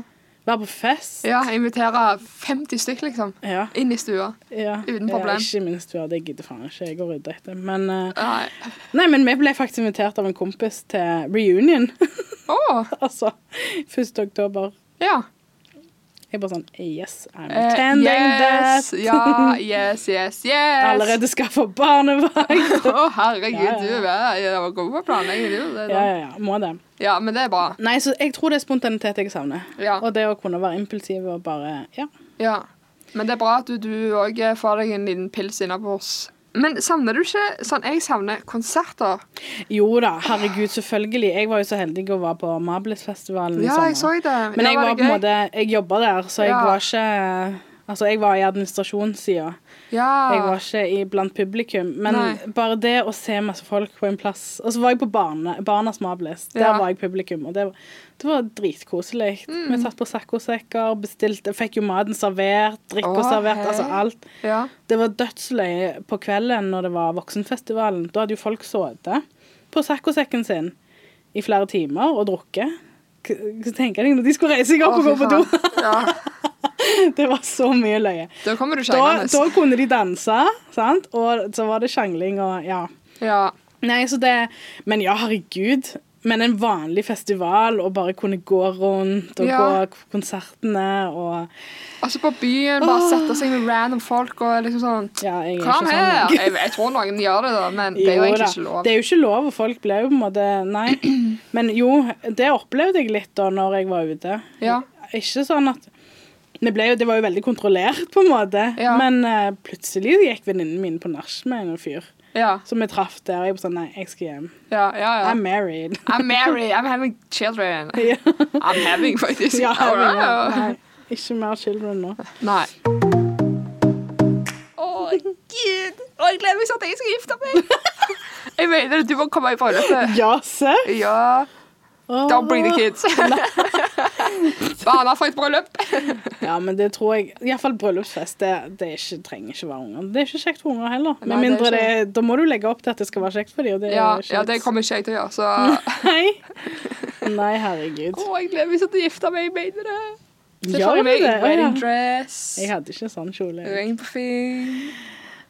Speaker 1: Være på fest.
Speaker 2: Ja, invitere 50 stykk, liksom.
Speaker 1: Ja.
Speaker 2: Inn i stua.
Speaker 1: ja.
Speaker 2: Uten
Speaker 1: Ja,
Speaker 2: problem.
Speaker 1: ikke minst du har det. Gidder faen ikke jeg å rydde etter. Men, eh,
Speaker 2: Nei.
Speaker 1: nei, men vi ble faktisk invitert av en kompis til reunion.
Speaker 2: Å!
Speaker 1: altså 1. oktober.
Speaker 2: ja.
Speaker 1: Jeg bare sånn Yes, I'm
Speaker 2: Eh,
Speaker 1: attending
Speaker 2: yes,
Speaker 1: that.
Speaker 2: ja, yes, yes, yes.
Speaker 1: Allerede skaffa barnevakt.
Speaker 2: Å, herregud,
Speaker 1: Ja, ja.
Speaker 2: du er jeg var god på planlegging, du. Det,
Speaker 1: Ja,
Speaker 2: ja.
Speaker 1: ja, ja. Må det.
Speaker 2: ja, men det er bra.
Speaker 1: Nei, så jeg tror det er spontanitet jeg savner.
Speaker 2: Ja.
Speaker 1: Og det å kunne være impulsiv og bare Ja.
Speaker 2: ja. Men det er bra at du- du òg får deg en liten pils innabords. Men savner du ikke sånn Jeg savner konserter.
Speaker 1: Jo da, herregud, selvfølgelig. Jeg var jo så heldig å være på Mablis-festivalen i
Speaker 2: Ja,
Speaker 1: sommer.
Speaker 2: jeg så det.
Speaker 1: Men
Speaker 2: Ja,
Speaker 1: jeg
Speaker 2: var det
Speaker 1: var på en
Speaker 2: gøy?
Speaker 1: måte Jeg jobba der, så jeg
Speaker 2: Ja.
Speaker 1: var ikke Altså, jeg var i administrasjonssida. Jeg
Speaker 2: Ja.
Speaker 1: var ikke i, blant publikum. Men
Speaker 2: Ah. Nei.
Speaker 1: bare det å se masse folk på en plass Og så var jeg på barne, Barnas Mabelis. Der
Speaker 2: Ja. Mm.
Speaker 1: var jeg publikum, og det var, det var dritkoselig. Vi satt på saccosekker, bestilte Fikk jo maten servert, drikka
Speaker 2: Å,
Speaker 1: servert,
Speaker 2: hei.
Speaker 1: altså alt.
Speaker 2: ja.
Speaker 1: Det var dødsløye på kvelden når det var Voksenfestivalen. Da hadde jo folk sittet på saccosekken sin i flere timer og drukket. K- Så tenker jeg når de skulle reise seg opp og gå
Speaker 2: Å,
Speaker 1: på
Speaker 2: fy
Speaker 1: do.
Speaker 2: faen. Ja.
Speaker 1: Det var så mye løye.
Speaker 2: Da kommer du
Speaker 1: Da, da
Speaker 2: seinere.
Speaker 1: kunne de danse, sant? og så var det sjangling og ja.
Speaker 2: Ja.
Speaker 1: Nei, så det Men ja, herregud. Men en vanlig festival, og bare kunne gå rundt og
Speaker 2: Ja.
Speaker 1: gå k- konsertene og
Speaker 2: Altså på byen, bare sette seg med random folk og liksom sånn
Speaker 1: Ja, jeg er
Speaker 2: Kom
Speaker 1: ikke sånn.
Speaker 2: her! Jeg, jeg tror noen gjør det, da, men det er jo egentlig
Speaker 1: da.
Speaker 2: ikke lov.
Speaker 1: Det er jo ikke lov, og folk ble jo på en måte Nei. Men jo, det opplevde jeg litt da når jeg var ute.
Speaker 2: Ja.
Speaker 1: Ikke sånn at det, ble jo, det var jo veldig kontrollert, på en måte.
Speaker 2: Ja.
Speaker 1: Men eh, plutselig gikk venninnen min på nach med en fyr
Speaker 2: Ja,
Speaker 1: som vi traff der. og Jeg var sånn Nei, jeg skal hjem.
Speaker 2: ja, ja. ja.
Speaker 1: I'm married.
Speaker 2: I'm married, I'm having children.
Speaker 1: Ja.
Speaker 2: I'm having, faktisk.
Speaker 1: Ja,
Speaker 2: All right.
Speaker 1: Nei, ikke mer children nå.
Speaker 2: Nei. Å, gud! Å, jeg gleder meg sånn at jeg skal gifte meg! jeg mener det, du må komme i bryllupet.
Speaker 1: Ja, serr?
Speaker 2: Ja. Don't bring the kids. Barna får et bryllup.
Speaker 1: Ja, men det tror jeg Iallfall bryllupsfest. Det, det er ikke, trenger ikke være unger. Det er ikke kjekt for unger heller.
Speaker 2: Nei,
Speaker 1: Med
Speaker 2: det er
Speaker 1: mindre
Speaker 2: ikke
Speaker 1: det, Da må du legge opp til at det skal være kjekt for dem, og det
Speaker 2: Ja,
Speaker 1: er ikke
Speaker 2: ja, det kommer ikke jeg til å gjøre, så
Speaker 1: Nei. Nei, herregud.
Speaker 2: Å, jeg gleder meg sånn til å gifte meg, jeg mener det. Se
Speaker 1: Gjør
Speaker 2: for
Speaker 1: du
Speaker 2: meg
Speaker 1: det?
Speaker 2: i wedding
Speaker 1: Å, ja.
Speaker 2: dress,
Speaker 1: Jeg hadde ikke sånn kjole.
Speaker 2: ring på Finn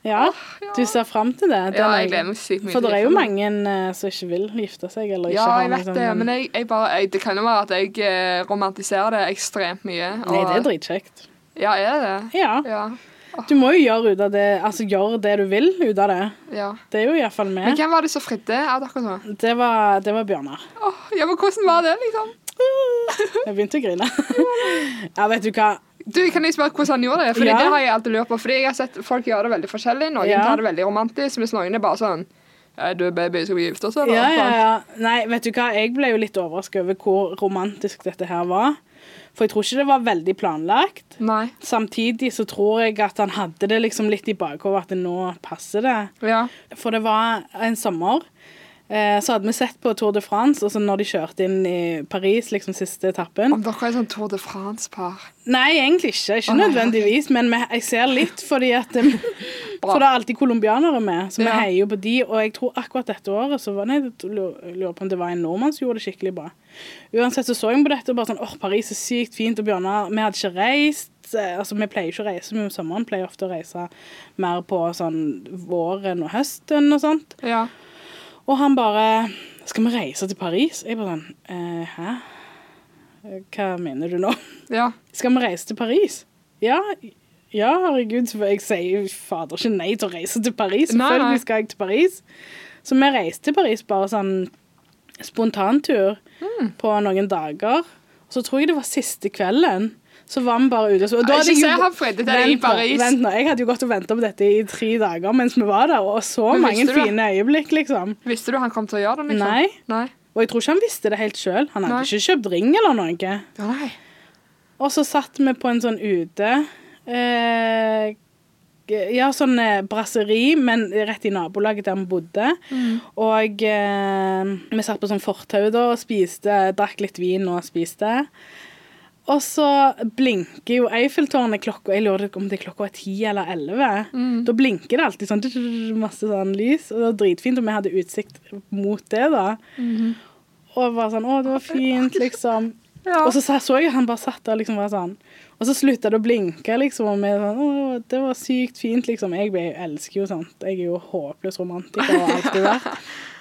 Speaker 1: Ja,
Speaker 2: ja.
Speaker 1: du ser fram til det? Den
Speaker 2: Ja,
Speaker 1: er-
Speaker 2: jeg gleder meg sykt mye.
Speaker 1: For
Speaker 2: til å
Speaker 1: det er jo
Speaker 2: gifte meg.
Speaker 1: mange eh, som ikke vil gifte seg, eller ikke
Speaker 2: Ja,
Speaker 1: har
Speaker 2: jeg vet
Speaker 1: liksom-
Speaker 2: det, men jeg, jeg bare, jeg, det kan jo være at jeg eh, romantiserer det ekstremt mye.
Speaker 1: Nei, det er
Speaker 2: og-
Speaker 1: dritkjekt.
Speaker 2: Ja, er det?
Speaker 1: Ja.
Speaker 2: Ja.
Speaker 1: Du må jo gjøre ut av det Altså gjøre det du vil ut av det.
Speaker 2: ja.
Speaker 1: Det er jo iallfall
Speaker 2: Men
Speaker 1: med.
Speaker 2: hvem var det som fridde av dere to?
Speaker 1: Det var, det var Bjørnar.
Speaker 2: Åh, ja, men hvordan var det, liksom?
Speaker 1: Jeg begynte å grine. Ja, vet du hva.
Speaker 2: Du, Kan jeg spørre hvordan han gjorde det? Fordi
Speaker 1: Ja.
Speaker 2: det har Jeg alltid lurt på Fordi jeg har sett folk gjøre det veldig forskjellig. Noen
Speaker 1: Ja.
Speaker 2: tar det veldig romantisk, mens noen er bare sånn «Ja, Du baby, skal vi gifte oss, eller?
Speaker 1: Ja, ja, ja. Nei, vet du hva? Jeg ble jo litt overrasket over hvor romantisk dette her var. For jeg tror ikke det var veldig planlagt.
Speaker 2: Nei.
Speaker 1: Samtidig så tror jeg at han hadde det liksom litt i bakhodet at nå passer det.
Speaker 2: Ja.
Speaker 1: For det var en sommer. eh, Så hadde vi sett på Tour de France, og så når de kjørte inn i Paris, liksom siste etappen
Speaker 2: Om dere er sånn Tour de France-par.
Speaker 1: Nei, egentlig ikke. Ikke
Speaker 2: Å, nei,
Speaker 1: nødvendigvis, men vi- jeg ser litt fordi at eh, For det er alltid colombianere med, så vi
Speaker 2: Ja.
Speaker 1: heier jo på de. Og jeg tror akkurat dette året så var nei, jeg lurer på om det var en nordmann som gjorde det skikkelig bra. Uansett så så jeg på dette og bare sånn åh, Paris er sykt fint, og Bjørnar Vi hadde ikke reist. eh, Altså, vi pleier jo ikke å reise mye om sommeren, pleier ofte å reise mer på sånn våren og høsten og sånt.
Speaker 2: Ja.
Speaker 1: Og han bare Skal vi reise til Paris? Jeg bare sånn eh, Hæ? Eh, Hva mener du nå?
Speaker 2: Ja.
Speaker 1: Skal vi reise til Paris? Ja, ja herregud. for Jeg sier jo fader ikke nei til å reise til Paris.
Speaker 2: Nei, nei.
Speaker 1: Selvfølgelig skal jeg til Paris. Så vi reiste til Paris bare sånn spontantur
Speaker 2: Mm.
Speaker 1: på noen dager. Og så tror jeg det var siste kvelden. Så var vi bare ute. og så- Og da hadde
Speaker 2: Ikke
Speaker 1: jeg
Speaker 2: se
Speaker 1: jo-
Speaker 2: han fridde deg i
Speaker 1: Vent nå,
Speaker 2: Paris.
Speaker 1: Vent nå. Jeg hadde jo gått og venta på dette i tre dager mens vi var der, og så
Speaker 2: Men
Speaker 1: mange
Speaker 2: visste du det?
Speaker 1: fine øyeblikk, liksom.
Speaker 2: Visste du han kom til å gjøre det? liksom?
Speaker 1: Nei.
Speaker 2: Nei.
Speaker 1: Og jeg tror ikke han visste det helt sjøl. Han hadde
Speaker 2: Nei.
Speaker 1: ikke kjøpt ring eller noe.
Speaker 2: Ja, nei.
Speaker 1: Og så satt vi på en sånn ute eh, Ja, sånn eh, brasseri, men rett i nabolaget der vi bodde. Og eh, vi satt på sånn fortau da og spiste, drakk litt vin og spiste. Og så blinker jo Eiffeltårnet klokka Jeg lurer på om det er klokka er ti eller elleve. Da blinker det alltid sånn tsk, masse sånn lys, og det var dritfint. Og vi hadde utsikt mot det, da. Og bare sånn Mm-hmm. Å, det var fint, liksom.
Speaker 2: Ja.
Speaker 1: Og så sa- så jeg at han bare satt der og liksom var sånn. Og så slutta det å blinke, liksom. Og vi sånn Å, det var sykt fint, liksom. Jeg ble- jeg elsker jo sånt. Jeg er jo håpløs romantiker og alt det der.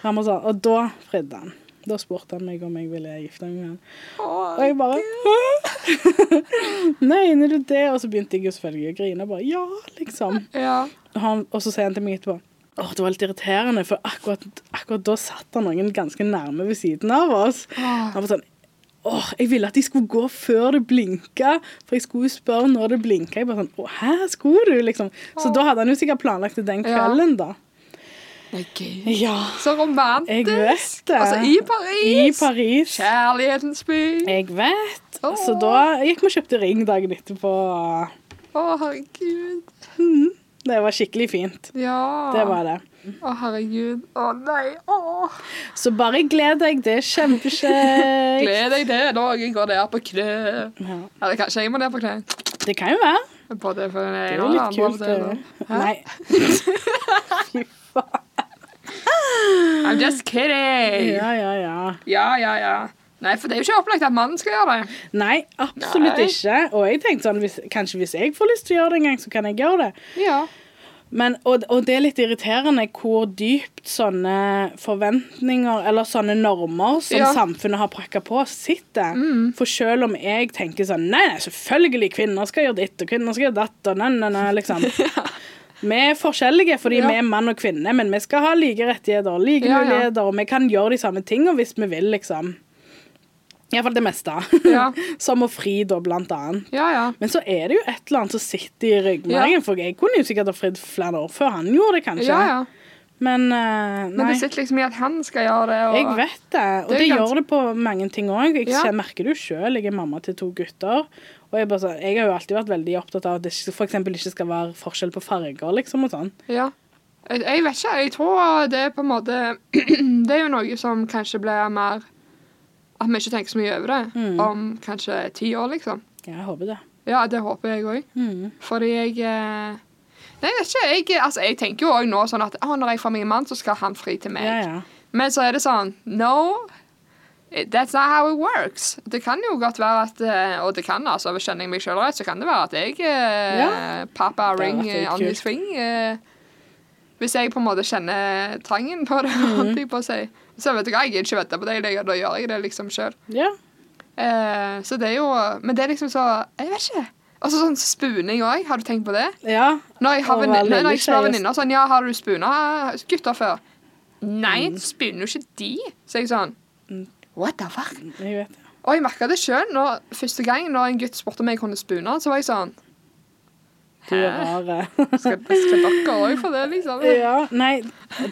Speaker 1: Han var sånn, og da fridde han. Da spurte han meg om jeg ville gifte meg med han.
Speaker 2: Åh,
Speaker 1: Og jeg bare «Hæ? Nei, er du det? Og så begynte jeg jo selvfølgelig å grine. Bare ja, liksom.
Speaker 2: ja.
Speaker 1: Og, han, og så sier han til meg etterpå Åh, det var litt irriterende, for akkurat, akkurat da satt han noen ganske nærme ved siden av oss.
Speaker 2: Åh.
Speaker 1: Han var sånn Åh, jeg ville at de skulle gå før det blinka, for jeg skulle jo spørre når det blinka. Jeg bare sånn Å, hæ, skulle du? Liksom. Så da hadde han jo sikkert planlagt det den
Speaker 2: Ja.
Speaker 1: kvelden, da.
Speaker 2: Nei, gud.
Speaker 1: Ja.
Speaker 2: Så romantisk.
Speaker 1: Jeg vet det.
Speaker 2: Altså, i Paris.
Speaker 1: I Paris.
Speaker 2: Kjærlighetens by.
Speaker 1: Jeg vet.
Speaker 2: Åh.
Speaker 1: Så da gikk vi og kjøpte ring dagen etterpå.
Speaker 2: Å, herregud.
Speaker 1: Det var skikkelig fint.
Speaker 2: Ja.
Speaker 1: Det var det.
Speaker 2: Å, herregud. Å, nei. Å.
Speaker 1: Så bare gled deg, det er kjempeskjekt.
Speaker 2: Gled deg til dagen går der på kne.
Speaker 1: Ja.
Speaker 2: Eller kanskje jeg må ned på kne.
Speaker 1: Det kan jo være.
Speaker 2: Både for den
Speaker 1: Det er
Speaker 2: ene
Speaker 1: jo
Speaker 2: og den andre.
Speaker 1: litt kult.
Speaker 2: det
Speaker 1: det.
Speaker 2: da. Hæ?
Speaker 1: Nei. Fy faen.
Speaker 2: I'm just kidding.
Speaker 1: Ja, ja, ja.
Speaker 2: Ja, ja, ja. Nei, for det er jo ikke opplagt at mannen skal gjøre det.
Speaker 1: Nei, absolutt
Speaker 2: Nei.
Speaker 1: ikke. Og jeg tenkte sånn, hvis, kanskje hvis jeg får lyst til å gjøre det en gang, så kan jeg gjøre det.
Speaker 2: Ja.
Speaker 1: Men, og, og det er litt irriterende hvor dypt sånne forventninger eller sånne normer som
Speaker 2: Ja. Mm.
Speaker 1: samfunnet har prakka på, oss, sitter. For selv om jeg tenker sånn Nei, nei, selvfølgelig, kvinner skal gjøre ditt, og kvinner skal gjøre datt, og nei, nei, nei, liksom. Vi er forskjellige fordi
Speaker 2: Ja.
Speaker 1: vi er mann og kvinne, men vi skal ha like rettigheter og like
Speaker 2: Ja, ja.
Speaker 1: muligheter, og vi kan gjøre de samme tingene hvis vi vil, liksom. Iallfall det meste.
Speaker 2: Ja,
Speaker 1: som å fri, da, blant annet.
Speaker 2: ja. ja.
Speaker 1: Men så er det jo et eller annet som sitter i ryggmargen,
Speaker 2: Ja.
Speaker 1: for jeg kunne jo sikkert ha fridd flere år før han gjorde det, kanskje.
Speaker 2: Ja, ja.
Speaker 1: Men eh,
Speaker 2: Men
Speaker 1: nei,
Speaker 2: det sitter liksom i at han skal gjøre det. Og...
Speaker 1: jeg vet det. Og
Speaker 2: Det
Speaker 1: det,
Speaker 2: er ganske-
Speaker 1: gjør det på mange ting òg. Jeg
Speaker 2: Ja.
Speaker 1: ser- merker det jo sjøl. Jeg er mamma til to gutter. Og jeg, bare, sånn- jeg har jo alltid vært veldig opptatt av at det ikke- for eksempel ikke skal være forskjell på farger, liksom, og sånn.
Speaker 2: Ja. Jeg, jeg vet ikke. Jeg tror det er på en måte Det er jo noe som kanskje blir mer At vi ikke tenker så mye over det
Speaker 1: Mm.
Speaker 2: om kanskje ti år, liksom.
Speaker 1: Ja, jeg håper det.
Speaker 2: Ja, det håper jeg òg.
Speaker 1: Mm.
Speaker 2: Fordi jeg eh, Nei, jeg vet ikke. Jeg, altså, jeg tenker jo òg nå sånn at å, når jeg får meg en mann, så skal han fri til meg.
Speaker 1: Ja, ja.
Speaker 2: Men så er det sånn No, that's not how it works. Det kan jo godt være at eh, Og det kan altså, hvis skjønner jeg meg sjøl rett, så kan det være at jeg eh,
Speaker 1: Ja.
Speaker 2: Pappa
Speaker 1: Det hadde
Speaker 2: ring
Speaker 1: vært litt
Speaker 2: eh, on the
Speaker 1: kult.
Speaker 2: swing. eh, hvis jeg på en måte kjenner trangen på det,
Speaker 1: Mhm.
Speaker 2: holdt jeg på å si. Så vet du hva, jeg gidder ikke vente på deg, da gjør jeg det liksom sjøl.
Speaker 1: ja.
Speaker 2: Eh, så det er jo Men det er liksom så Jeg vet ikke. Og så sånn spuning òg. Har du tenkt på det?
Speaker 1: ja.
Speaker 2: Når jeg, har
Speaker 1: Å være
Speaker 2: venninner, nei, når
Speaker 1: lille
Speaker 2: jeg spør
Speaker 1: tjej,
Speaker 2: venninner sånn, ja, har du spuna gutter før? Nei, mm. jo ikke de. Så jeg sånn,
Speaker 1: Mm.
Speaker 2: what the fuck?
Speaker 1: Jeg vet det.
Speaker 2: Og jeg merket det selv, når, første gang når en gutt spurte om jeg kunne spune, så var jeg sånn,
Speaker 1: Du er
Speaker 2: Hæ?
Speaker 1: rar. eh.
Speaker 2: skal, skal dere også for det, liksom?
Speaker 1: ja. Nei,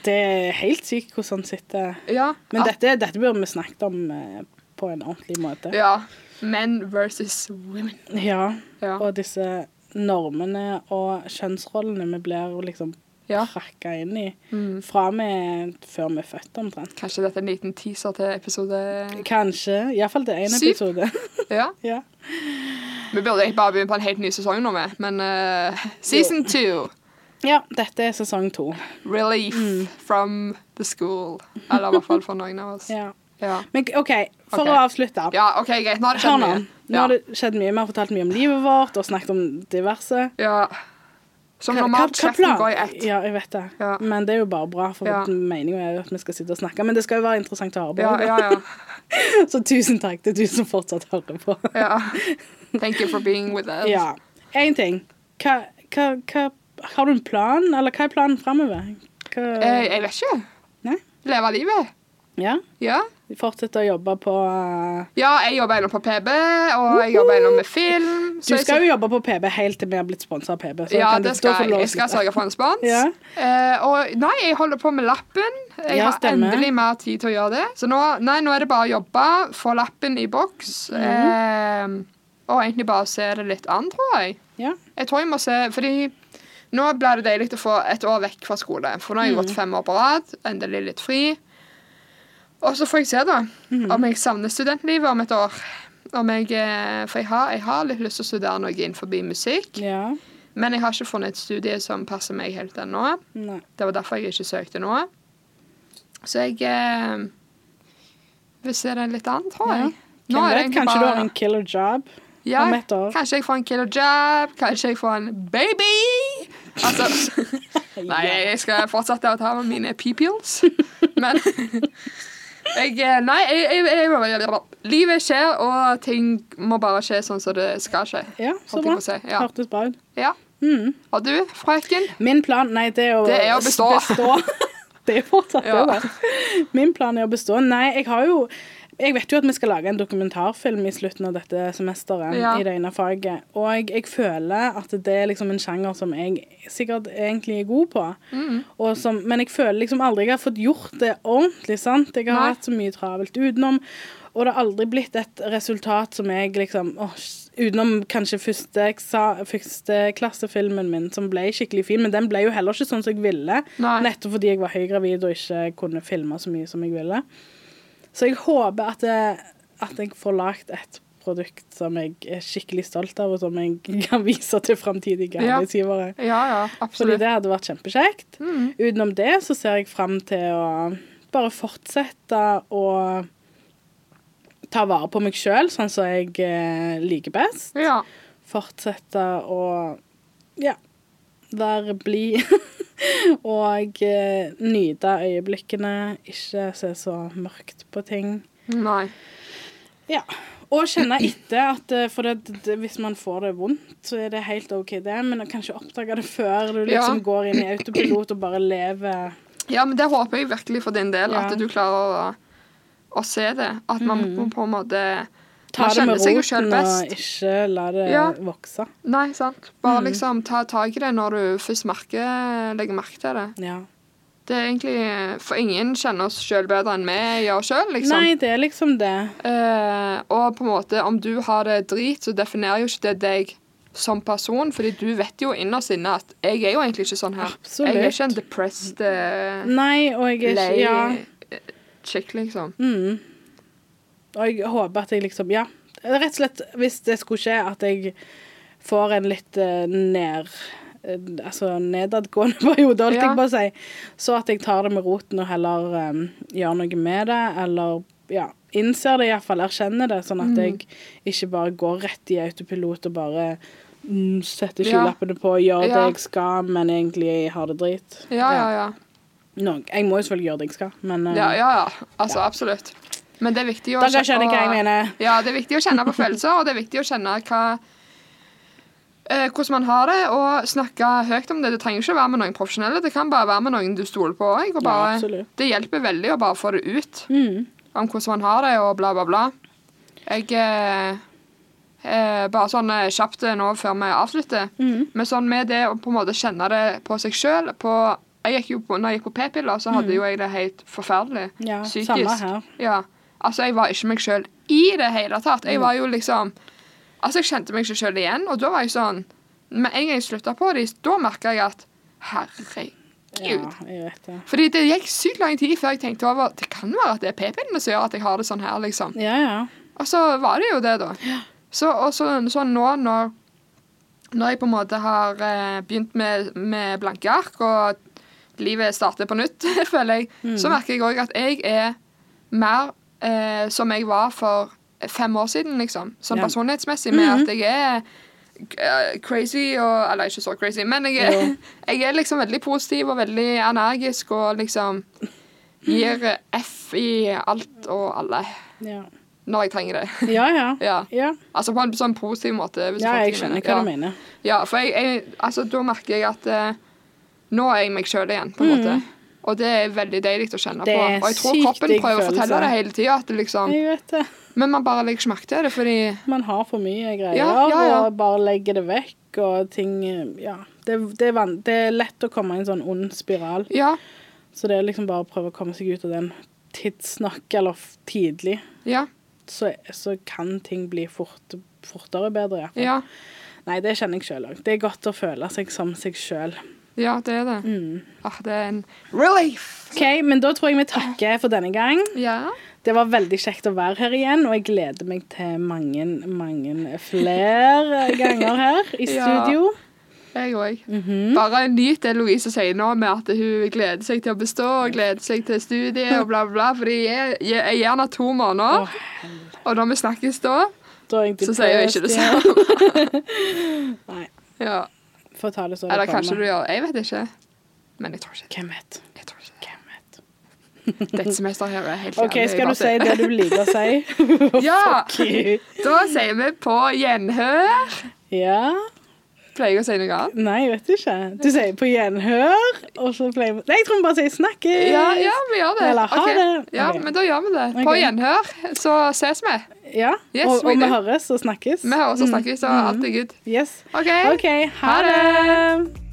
Speaker 1: det er helt sykt hvordan han sitter.
Speaker 2: Ja.
Speaker 1: Men
Speaker 2: at-
Speaker 1: dette, dette burde vi snakket om eh, på en ordentlig måte.
Speaker 2: Ah, Ja, men versus women.
Speaker 1: Ja,
Speaker 2: Ja,
Speaker 1: og disse normene og kjønnsrollene vi blir jo liksom
Speaker 2: ja.
Speaker 1: prakka inn i
Speaker 2: Mm.
Speaker 1: fra vi er- før vi er født, omtrent.
Speaker 2: Kanskje dette er en liten teaser til episode...
Speaker 1: Kanskje. Iallfall til én
Speaker 2: Syv.
Speaker 1: episode.
Speaker 2: Ja.
Speaker 1: ja.
Speaker 2: Vi burde egentlig bare begynne på en helt ny sesong nå med, men eh, season two.
Speaker 1: ja, dette er sesong to.
Speaker 2: Relief
Speaker 1: Mm.
Speaker 2: from the school. Eller i hvert fall for noen av oss.
Speaker 1: Ja.
Speaker 2: Ja.
Speaker 1: Men OK, for
Speaker 2: Ok.
Speaker 1: å avslutte.
Speaker 2: ja, OK, greit. Nå har det
Speaker 1: Hør
Speaker 2: skjedd
Speaker 1: nå.
Speaker 2: mye.
Speaker 1: Nå har det skjedd mye. Vi har fortalt mye om livet vårt og snakket om diverse.
Speaker 2: Ja. Som
Speaker 1: Hva-
Speaker 2: normalt
Speaker 1: hva- hva
Speaker 2: kjeften
Speaker 1: plan-
Speaker 2: går i ett.
Speaker 1: Ja, jeg vet det.
Speaker 2: Ja.
Speaker 1: Men det er jo bare bra, for
Speaker 2: Ja.
Speaker 1: meningen er jo at vi skal sitte og snakke. Men det skal jo være interessant å høre på.
Speaker 2: Ja, ja, ja.
Speaker 1: Så tusen takk til du som fortsatt hører på.
Speaker 2: ja. Thank you for being with us.
Speaker 1: Ja. Én ting. Hva, hva, hva, har du en plan, eller hva er planen framover?
Speaker 2: Eh, jeg vet ikke.
Speaker 1: Nei.
Speaker 2: Leve livet.
Speaker 1: Ja?
Speaker 2: Ja.
Speaker 1: Fortsette å jobbe på eh,
Speaker 2: ja, jeg jobber innom på PB, og jeg jobber innom med film.
Speaker 1: Du
Speaker 2: jeg
Speaker 1: skal jo jobbe på PB helt til vi har blitt sponsa av PB. Så
Speaker 2: ja,
Speaker 1: kan
Speaker 2: det
Speaker 1: du- da
Speaker 2: skal
Speaker 1: får du
Speaker 2: jeg.
Speaker 1: lov å
Speaker 2: Jeg skal altså-
Speaker 1: slutte.
Speaker 2: sørge for en spons.
Speaker 1: Ja.
Speaker 2: Eh, og nei, jeg holder på med lappen. Jeg
Speaker 1: Ja,
Speaker 2: har
Speaker 1: stemmer.
Speaker 2: endelig mer tid til å gjøre det. Så nå, nei, nå er det bare å jobbe, få lappen i boks,
Speaker 1: Mhm.
Speaker 2: eh, og egentlig bare se det litt an, tror jeg.
Speaker 1: Ja.
Speaker 2: Jeg tror jeg må se, fordi nå ble det deilig å få et år vekk fra skole. For nå har jeg
Speaker 1: Mm.
Speaker 2: gått fem år på rad, endelig litt fri. Og så får jeg se, da,
Speaker 1: Mm.
Speaker 2: om jeg savner studentlivet om et år. Om jeg, eh, for jeg har, jeg har litt lyst til å studere noe innenfor musikk,
Speaker 1: ja.
Speaker 2: men jeg har ikke funnet et studie som passer meg helt ennå.
Speaker 1: Nei.
Speaker 2: Det var derfor jeg ikke søkte noe. Så jeg eh, vil se det litt an, tror
Speaker 1: Ja.
Speaker 2: jeg.
Speaker 1: Hvem
Speaker 2: er det
Speaker 1: vet,
Speaker 2: egentlig
Speaker 1: kanskje du
Speaker 2: bare-
Speaker 1: har en killer job
Speaker 2: ja,
Speaker 1: om et år.
Speaker 2: Kanskje jeg får en killer job, kanskje jeg får en baby. Altså, nei, jeg skal fortsette å ta mine p-pills, men jeg, eh, Nei, jeg, jeg, jeg, livet skjer, og ting må bare skje sånn som det skal skje.
Speaker 1: Ja, så
Speaker 2: holdt jeg på
Speaker 1: bra.
Speaker 2: å si, ja.
Speaker 1: Hørtes bra ut.
Speaker 2: Ja.
Speaker 1: Mm.
Speaker 2: Og du, frøken?
Speaker 1: Min plan Nei, det er å,
Speaker 2: Det er å bestå.
Speaker 1: Det er fortsatt
Speaker 2: Ja.
Speaker 1: det, da. Min plan er å bestå. Nei, jeg har jo jeg vet jo at vi skal lage en dokumentarfilm i slutten av dette semesteret.
Speaker 2: Ja.
Speaker 1: i det ene faget, Og jeg føler at det er liksom en sjanger som jeg sikkert egentlig er god på.
Speaker 2: Mm.
Speaker 1: Og som, men jeg føler liksom aldri jeg har fått gjort det ordentlig. sant? Jeg har
Speaker 2: Nei.
Speaker 1: hatt så mye travelt utenom. Og det har aldri blitt et resultat som jeg liksom åh, s- Utenom kanskje første, eksa- første klassefilmen min, som ble skikkelig fin. Men den ble jo heller ikke sånn som jeg ville.
Speaker 2: Nei.
Speaker 1: Nettopp fordi jeg var høygravid og ikke kunne filme så mye som jeg ville. Så jeg håper at, det, at jeg får lagt et produkt som jeg er skikkelig stolt av, og som jeg kan vise til framtidige
Speaker 2: Ja.
Speaker 1: arbeidsgivere.
Speaker 2: Ja, ja,
Speaker 1: Fordi
Speaker 2: absolutt.
Speaker 1: det hadde vært kjempekjekt.
Speaker 2: Mm.
Speaker 1: Utenom det så ser jeg fram til å bare fortsette å ta vare på meg sjøl, sånn som jeg eh, liker best.
Speaker 2: Ja.
Speaker 1: Fortsette å ja, være blid og eh, nyte øyeblikkene, ikke se så mørkt på ting.
Speaker 2: Nei.
Speaker 1: Ja. Og kjenne etter at eh, For det, det, hvis man får det vondt, så er det helt OK, det, men å kanskje oppdage det før du liksom
Speaker 2: Ja.
Speaker 1: går inn i autopilot og bare lever
Speaker 2: Ja, men det håper jeg virkelig for din del,
Speaker 1: Ja.
Speaker 2: at du klarer å, å se det. At man
Speaker 1: Mm.
Speaker 2: må på en måte
Speaker 1: Ta
Speaker 2: Man
Speaker 1: det med
Speaker 2: kjenner seg jo selv
Speaker 1: roten og
Speaker 2: best.
Speaker 1: ikke la det
Speaker 2: Ja.
Speaker 1: vokse.
Speaker 2: Nei, sant. Bare
Speaker 1: Mm.
Speaker 2: liksom ta tak i det når du først merker, legger merke til det.
Speaker 1: Ja.
Speaker 2: Det er egentlig For ingen kjenner oss sjøl bedre enn vi gjør sjøl, liksom.
Speaker 1: Nei, det er liksom det.
Speaker 2: Eh, og på en måte, om du har det drit, så definerer jo ikke det deg som person, fordi du vet jo innerst inne at jeg er jo egentlig ikke sånn her.
Speaker 1: Absolutt.
Speaker 2: Jeg er ikke en depressed, eh,
Speaker 1: Nei, og jeg er
Speaker 2: lei
Speaker 1: ikke ja.
Speaker 2: eh, chick, liksom.
Speaker 1: mm. Og jeg håper at jeg liksom Ja. Rett og slett, hvis det skulle skje, at jeg får en litt eh, ned eh, Altså nedadgående periode, holdt
Speaker 2: Ja.
Speaker 1: jeg på å si. Så at jeg tar det med roten og heller eh, gjør noe med det, eller ja, innser det iallfall, erkjenner det, sånn at
Speaker 2: Mm.
Speaker 1: jeg ikke bare går rett i autopilot og bare mm, setter
Speaker 2: Ja.
Speaker 1: skylappene på, gjør det
Speaker 2: Ja.
Speaker 1: jeg skal, men egentlig har det drit.
Speaker 2: Ja, ja, ja.
Speaker 1: Nå, jeg må jo selvfølgelig gjøre det jeg skal, men eh,
Speaker 2: Ja, ja, ja. Altså, absolutt. Men det er viktig å
Speaker 1: dere skjønner hva jeg
Speaker 2: å-
Speaker 1: mener.
Speaker 2: Ja, det er viktig å kjenne på følelser, og det er viktig å kjenne hva eh, hvordan man har det, og snakke høyt om det. Det trenger ikke være med noen profesjonelle, det kan bare være med noen du stoler på. også, Og
Speaker 1: Ja,
Speaker 2: bare,
Speaker 1: absolutt.
Speaker 2: det hjelper veldig å bare få det ut
Speaker 1: Mm.
Speaker 2: om hvordan man har det, og bla, bla, bla. Jeg eh, eh, Bare sånn eh, kjapt eh, nå før vi avslutter.
Speaker 1: Mm.
Speaker 2: Men sånn med det å på en måte kjenne det på seg sjøl jeg gikk jo på, når jeg gikk på p-piller, så
Speaker 1: Mm.
Speaker 2: hadde jo jeg det helt forferdelig.
Speaker 1: Ja,
Speaker 2: Psykisk.
Speaker 1: samme her.
Speaker 2: Ja. Altså, jeg var ikke meg sjøl i det hele tatt. Jeg var jo liksom Altså, jeg kjente meg ikke sjøl igjen, og da var jeg sånn Med en gang jeg slutta på det, da merka jeg at Herregud.
Speaker 1: Ja, jeg vet det.
Speaker 2: Fordi det gikk sykt lang tid før jeg tenkte over Det kan være at det er p-pillene som gjør at jeg har det sånn her, liksom.
Speaker 1: Ja, ja.
Speaker 2: Og så var det jo det, da. Så, og så, så nå når, når jeg på en måte har eh, begynt med, med blanke ark, og livet starter på nytt, føler jeg, så merker jeg òg at jeg er mer eh, som jeg var for fem år siden, liksom. Sånn
Speaker 1: Ja.
Speaker 2: personlighetsmessig, med at jeg er eh, crazy og Eller ikke så crazy, men jeg er,
Speaker 1: Jo.
Speaker 2: jeg er liksom veldig positiv og veldig energisk og liksom gir F i alt og alle
Speaker 1: Ja,
Speaker 2: når jeg trenger det.
Speaker 1: ja. ja.
Speaker 2: Ja.
Speaker 1: ja.
Speaker 2: Altså på en sånn positiv måte. hvis
Speaker 1: ja
Speaker 2: du får
Speaker 1: jeg
Speaker 2: hva
Speaker 1: skjønner hva
Speaker 2: ja.
Speaker 1: du mener.
Speaker 2: Ja, for jeg, jeg, altså, da merker jeg at eh, nå er jeg meg sjøl igjen, på en måte. Og det er veldig deilig å kjenne
Speaker 1: Mm. Det
Speaker 2: på.
Speaker 1: er
Speaker 2: Og jeg tror
Speaker 1: sykt
Speaker 2: kroppen
Speaker 1: digg
Speaker 2: prøver å fortelle
Speaker 1: følelse.
Speaker 2: det hele tida, liksom,
Speaker 1: Jeg vet det.
Speaker 2: men man bare legger ikke merke til det fordi
Speaker 1: Man har for mye greier
Speaker 2: Ja, ja, ja.
Speaker 1: og bare legger det vekk og ting eh, Ja. Det, det, er van det er lett å komme i en sånn ond spiral,
Speaker 2: Ja,
Speaker 1: så det er liksom bare å prøve å komme seg ut av den tidsnok, eller f- tidlig,
Speaker 2: ja,
Speaker 1: så, så kan ting bli fort, fortere bedre. i hvert fall.
Speaker 2: ja.
Speaker 1: Nei, det kjenner jeg sjøl òg. Det er godt å føle seg som seg sjøl.
Speaker 2: Ja, det er det.
Speaker 1: Mm.
Speaker 2: Ah, det er en relief.
Speaker 1: OK, men da tror jeg vi takker for denne gang.
Speaker 2: Ja.
Speaker 1: Det var veldig kjekt å være her igjen, og jeg gleder meg til mange, mange flere ganger her i
Speaker 2: Ja.
Speaker 1: studio.
Speaker 2: Jeg òg.
Speaker 1: Mhm.
Speaker 2: Bare nyt det Louise sier nå, med at hun gleder seg til å bestå og gleder seg til studiet og bla, bla, bla. Fordi jeg, jeg er gjerne to måneder, og når vi snakkes da,
Speaker 1: Da er jeg
Speaker 2: så sier hun ikke det
Speaker 1: depressed
Speaker 2: samme.
Speaker 1: igjen. Nei,
Speaker 2: Ja.
Speaker 1: får ta det så
Speaker 2: Eller
Speaker 1: det kommer.
Speaker 2: kanskje du gjør Jeg vet ikke. Men jeg tror ikke det.
Speaker 1: Hvem vet?
Speaker 2: Jeg tror ikke det.
Speaker 1: Hvem vet?
Speaker 2: Dette semesteret her er helt
Speaker 1: OK,
Speaker 2: jævlig,
Speaker 1: skal
Speaker 2: bare
Speaker 1: du si det du liker å si?
Speaker 2: Ja!
Speaker 1: Gud.
Speaker 2: Da sier vi på gjenhør.
Speaker 1: ja.
Speaker 2: pleier jeg å si noe annet.
Speaker 1: Nei, jeg vet ikke. Du sier på gjenhør, og så pleier vi Nei, jeg tror vi bare sier 'snakkes'.
Speaker 2: Ja, ja, vi gjør det.
Speaker 1: Eller ha
Speaker 2: Ok.
Speaker 1: det.
Speaker 2: Ja,
Speaker 1: Ok.
Speaker 2: men da gjør vi det. På
Speaker 1: Ok.
Speaker 2: gjenhør, så ses vi.
Speaker 1: Ja,
Speaker 2: Yes,
Speaker 1: og, og
Speaker 2: vi
Speaker 1: vi
Speaker 2: det.
Speaker 1: høres og snakkes. Mm.
Speaker 2: Vi høres og snakkes, og alt er good.
Speaker 1: Yes.
Speaker 2: OK.
Speaker 1: OK, ha
Speaker 2: Ha
Speaker 1: det.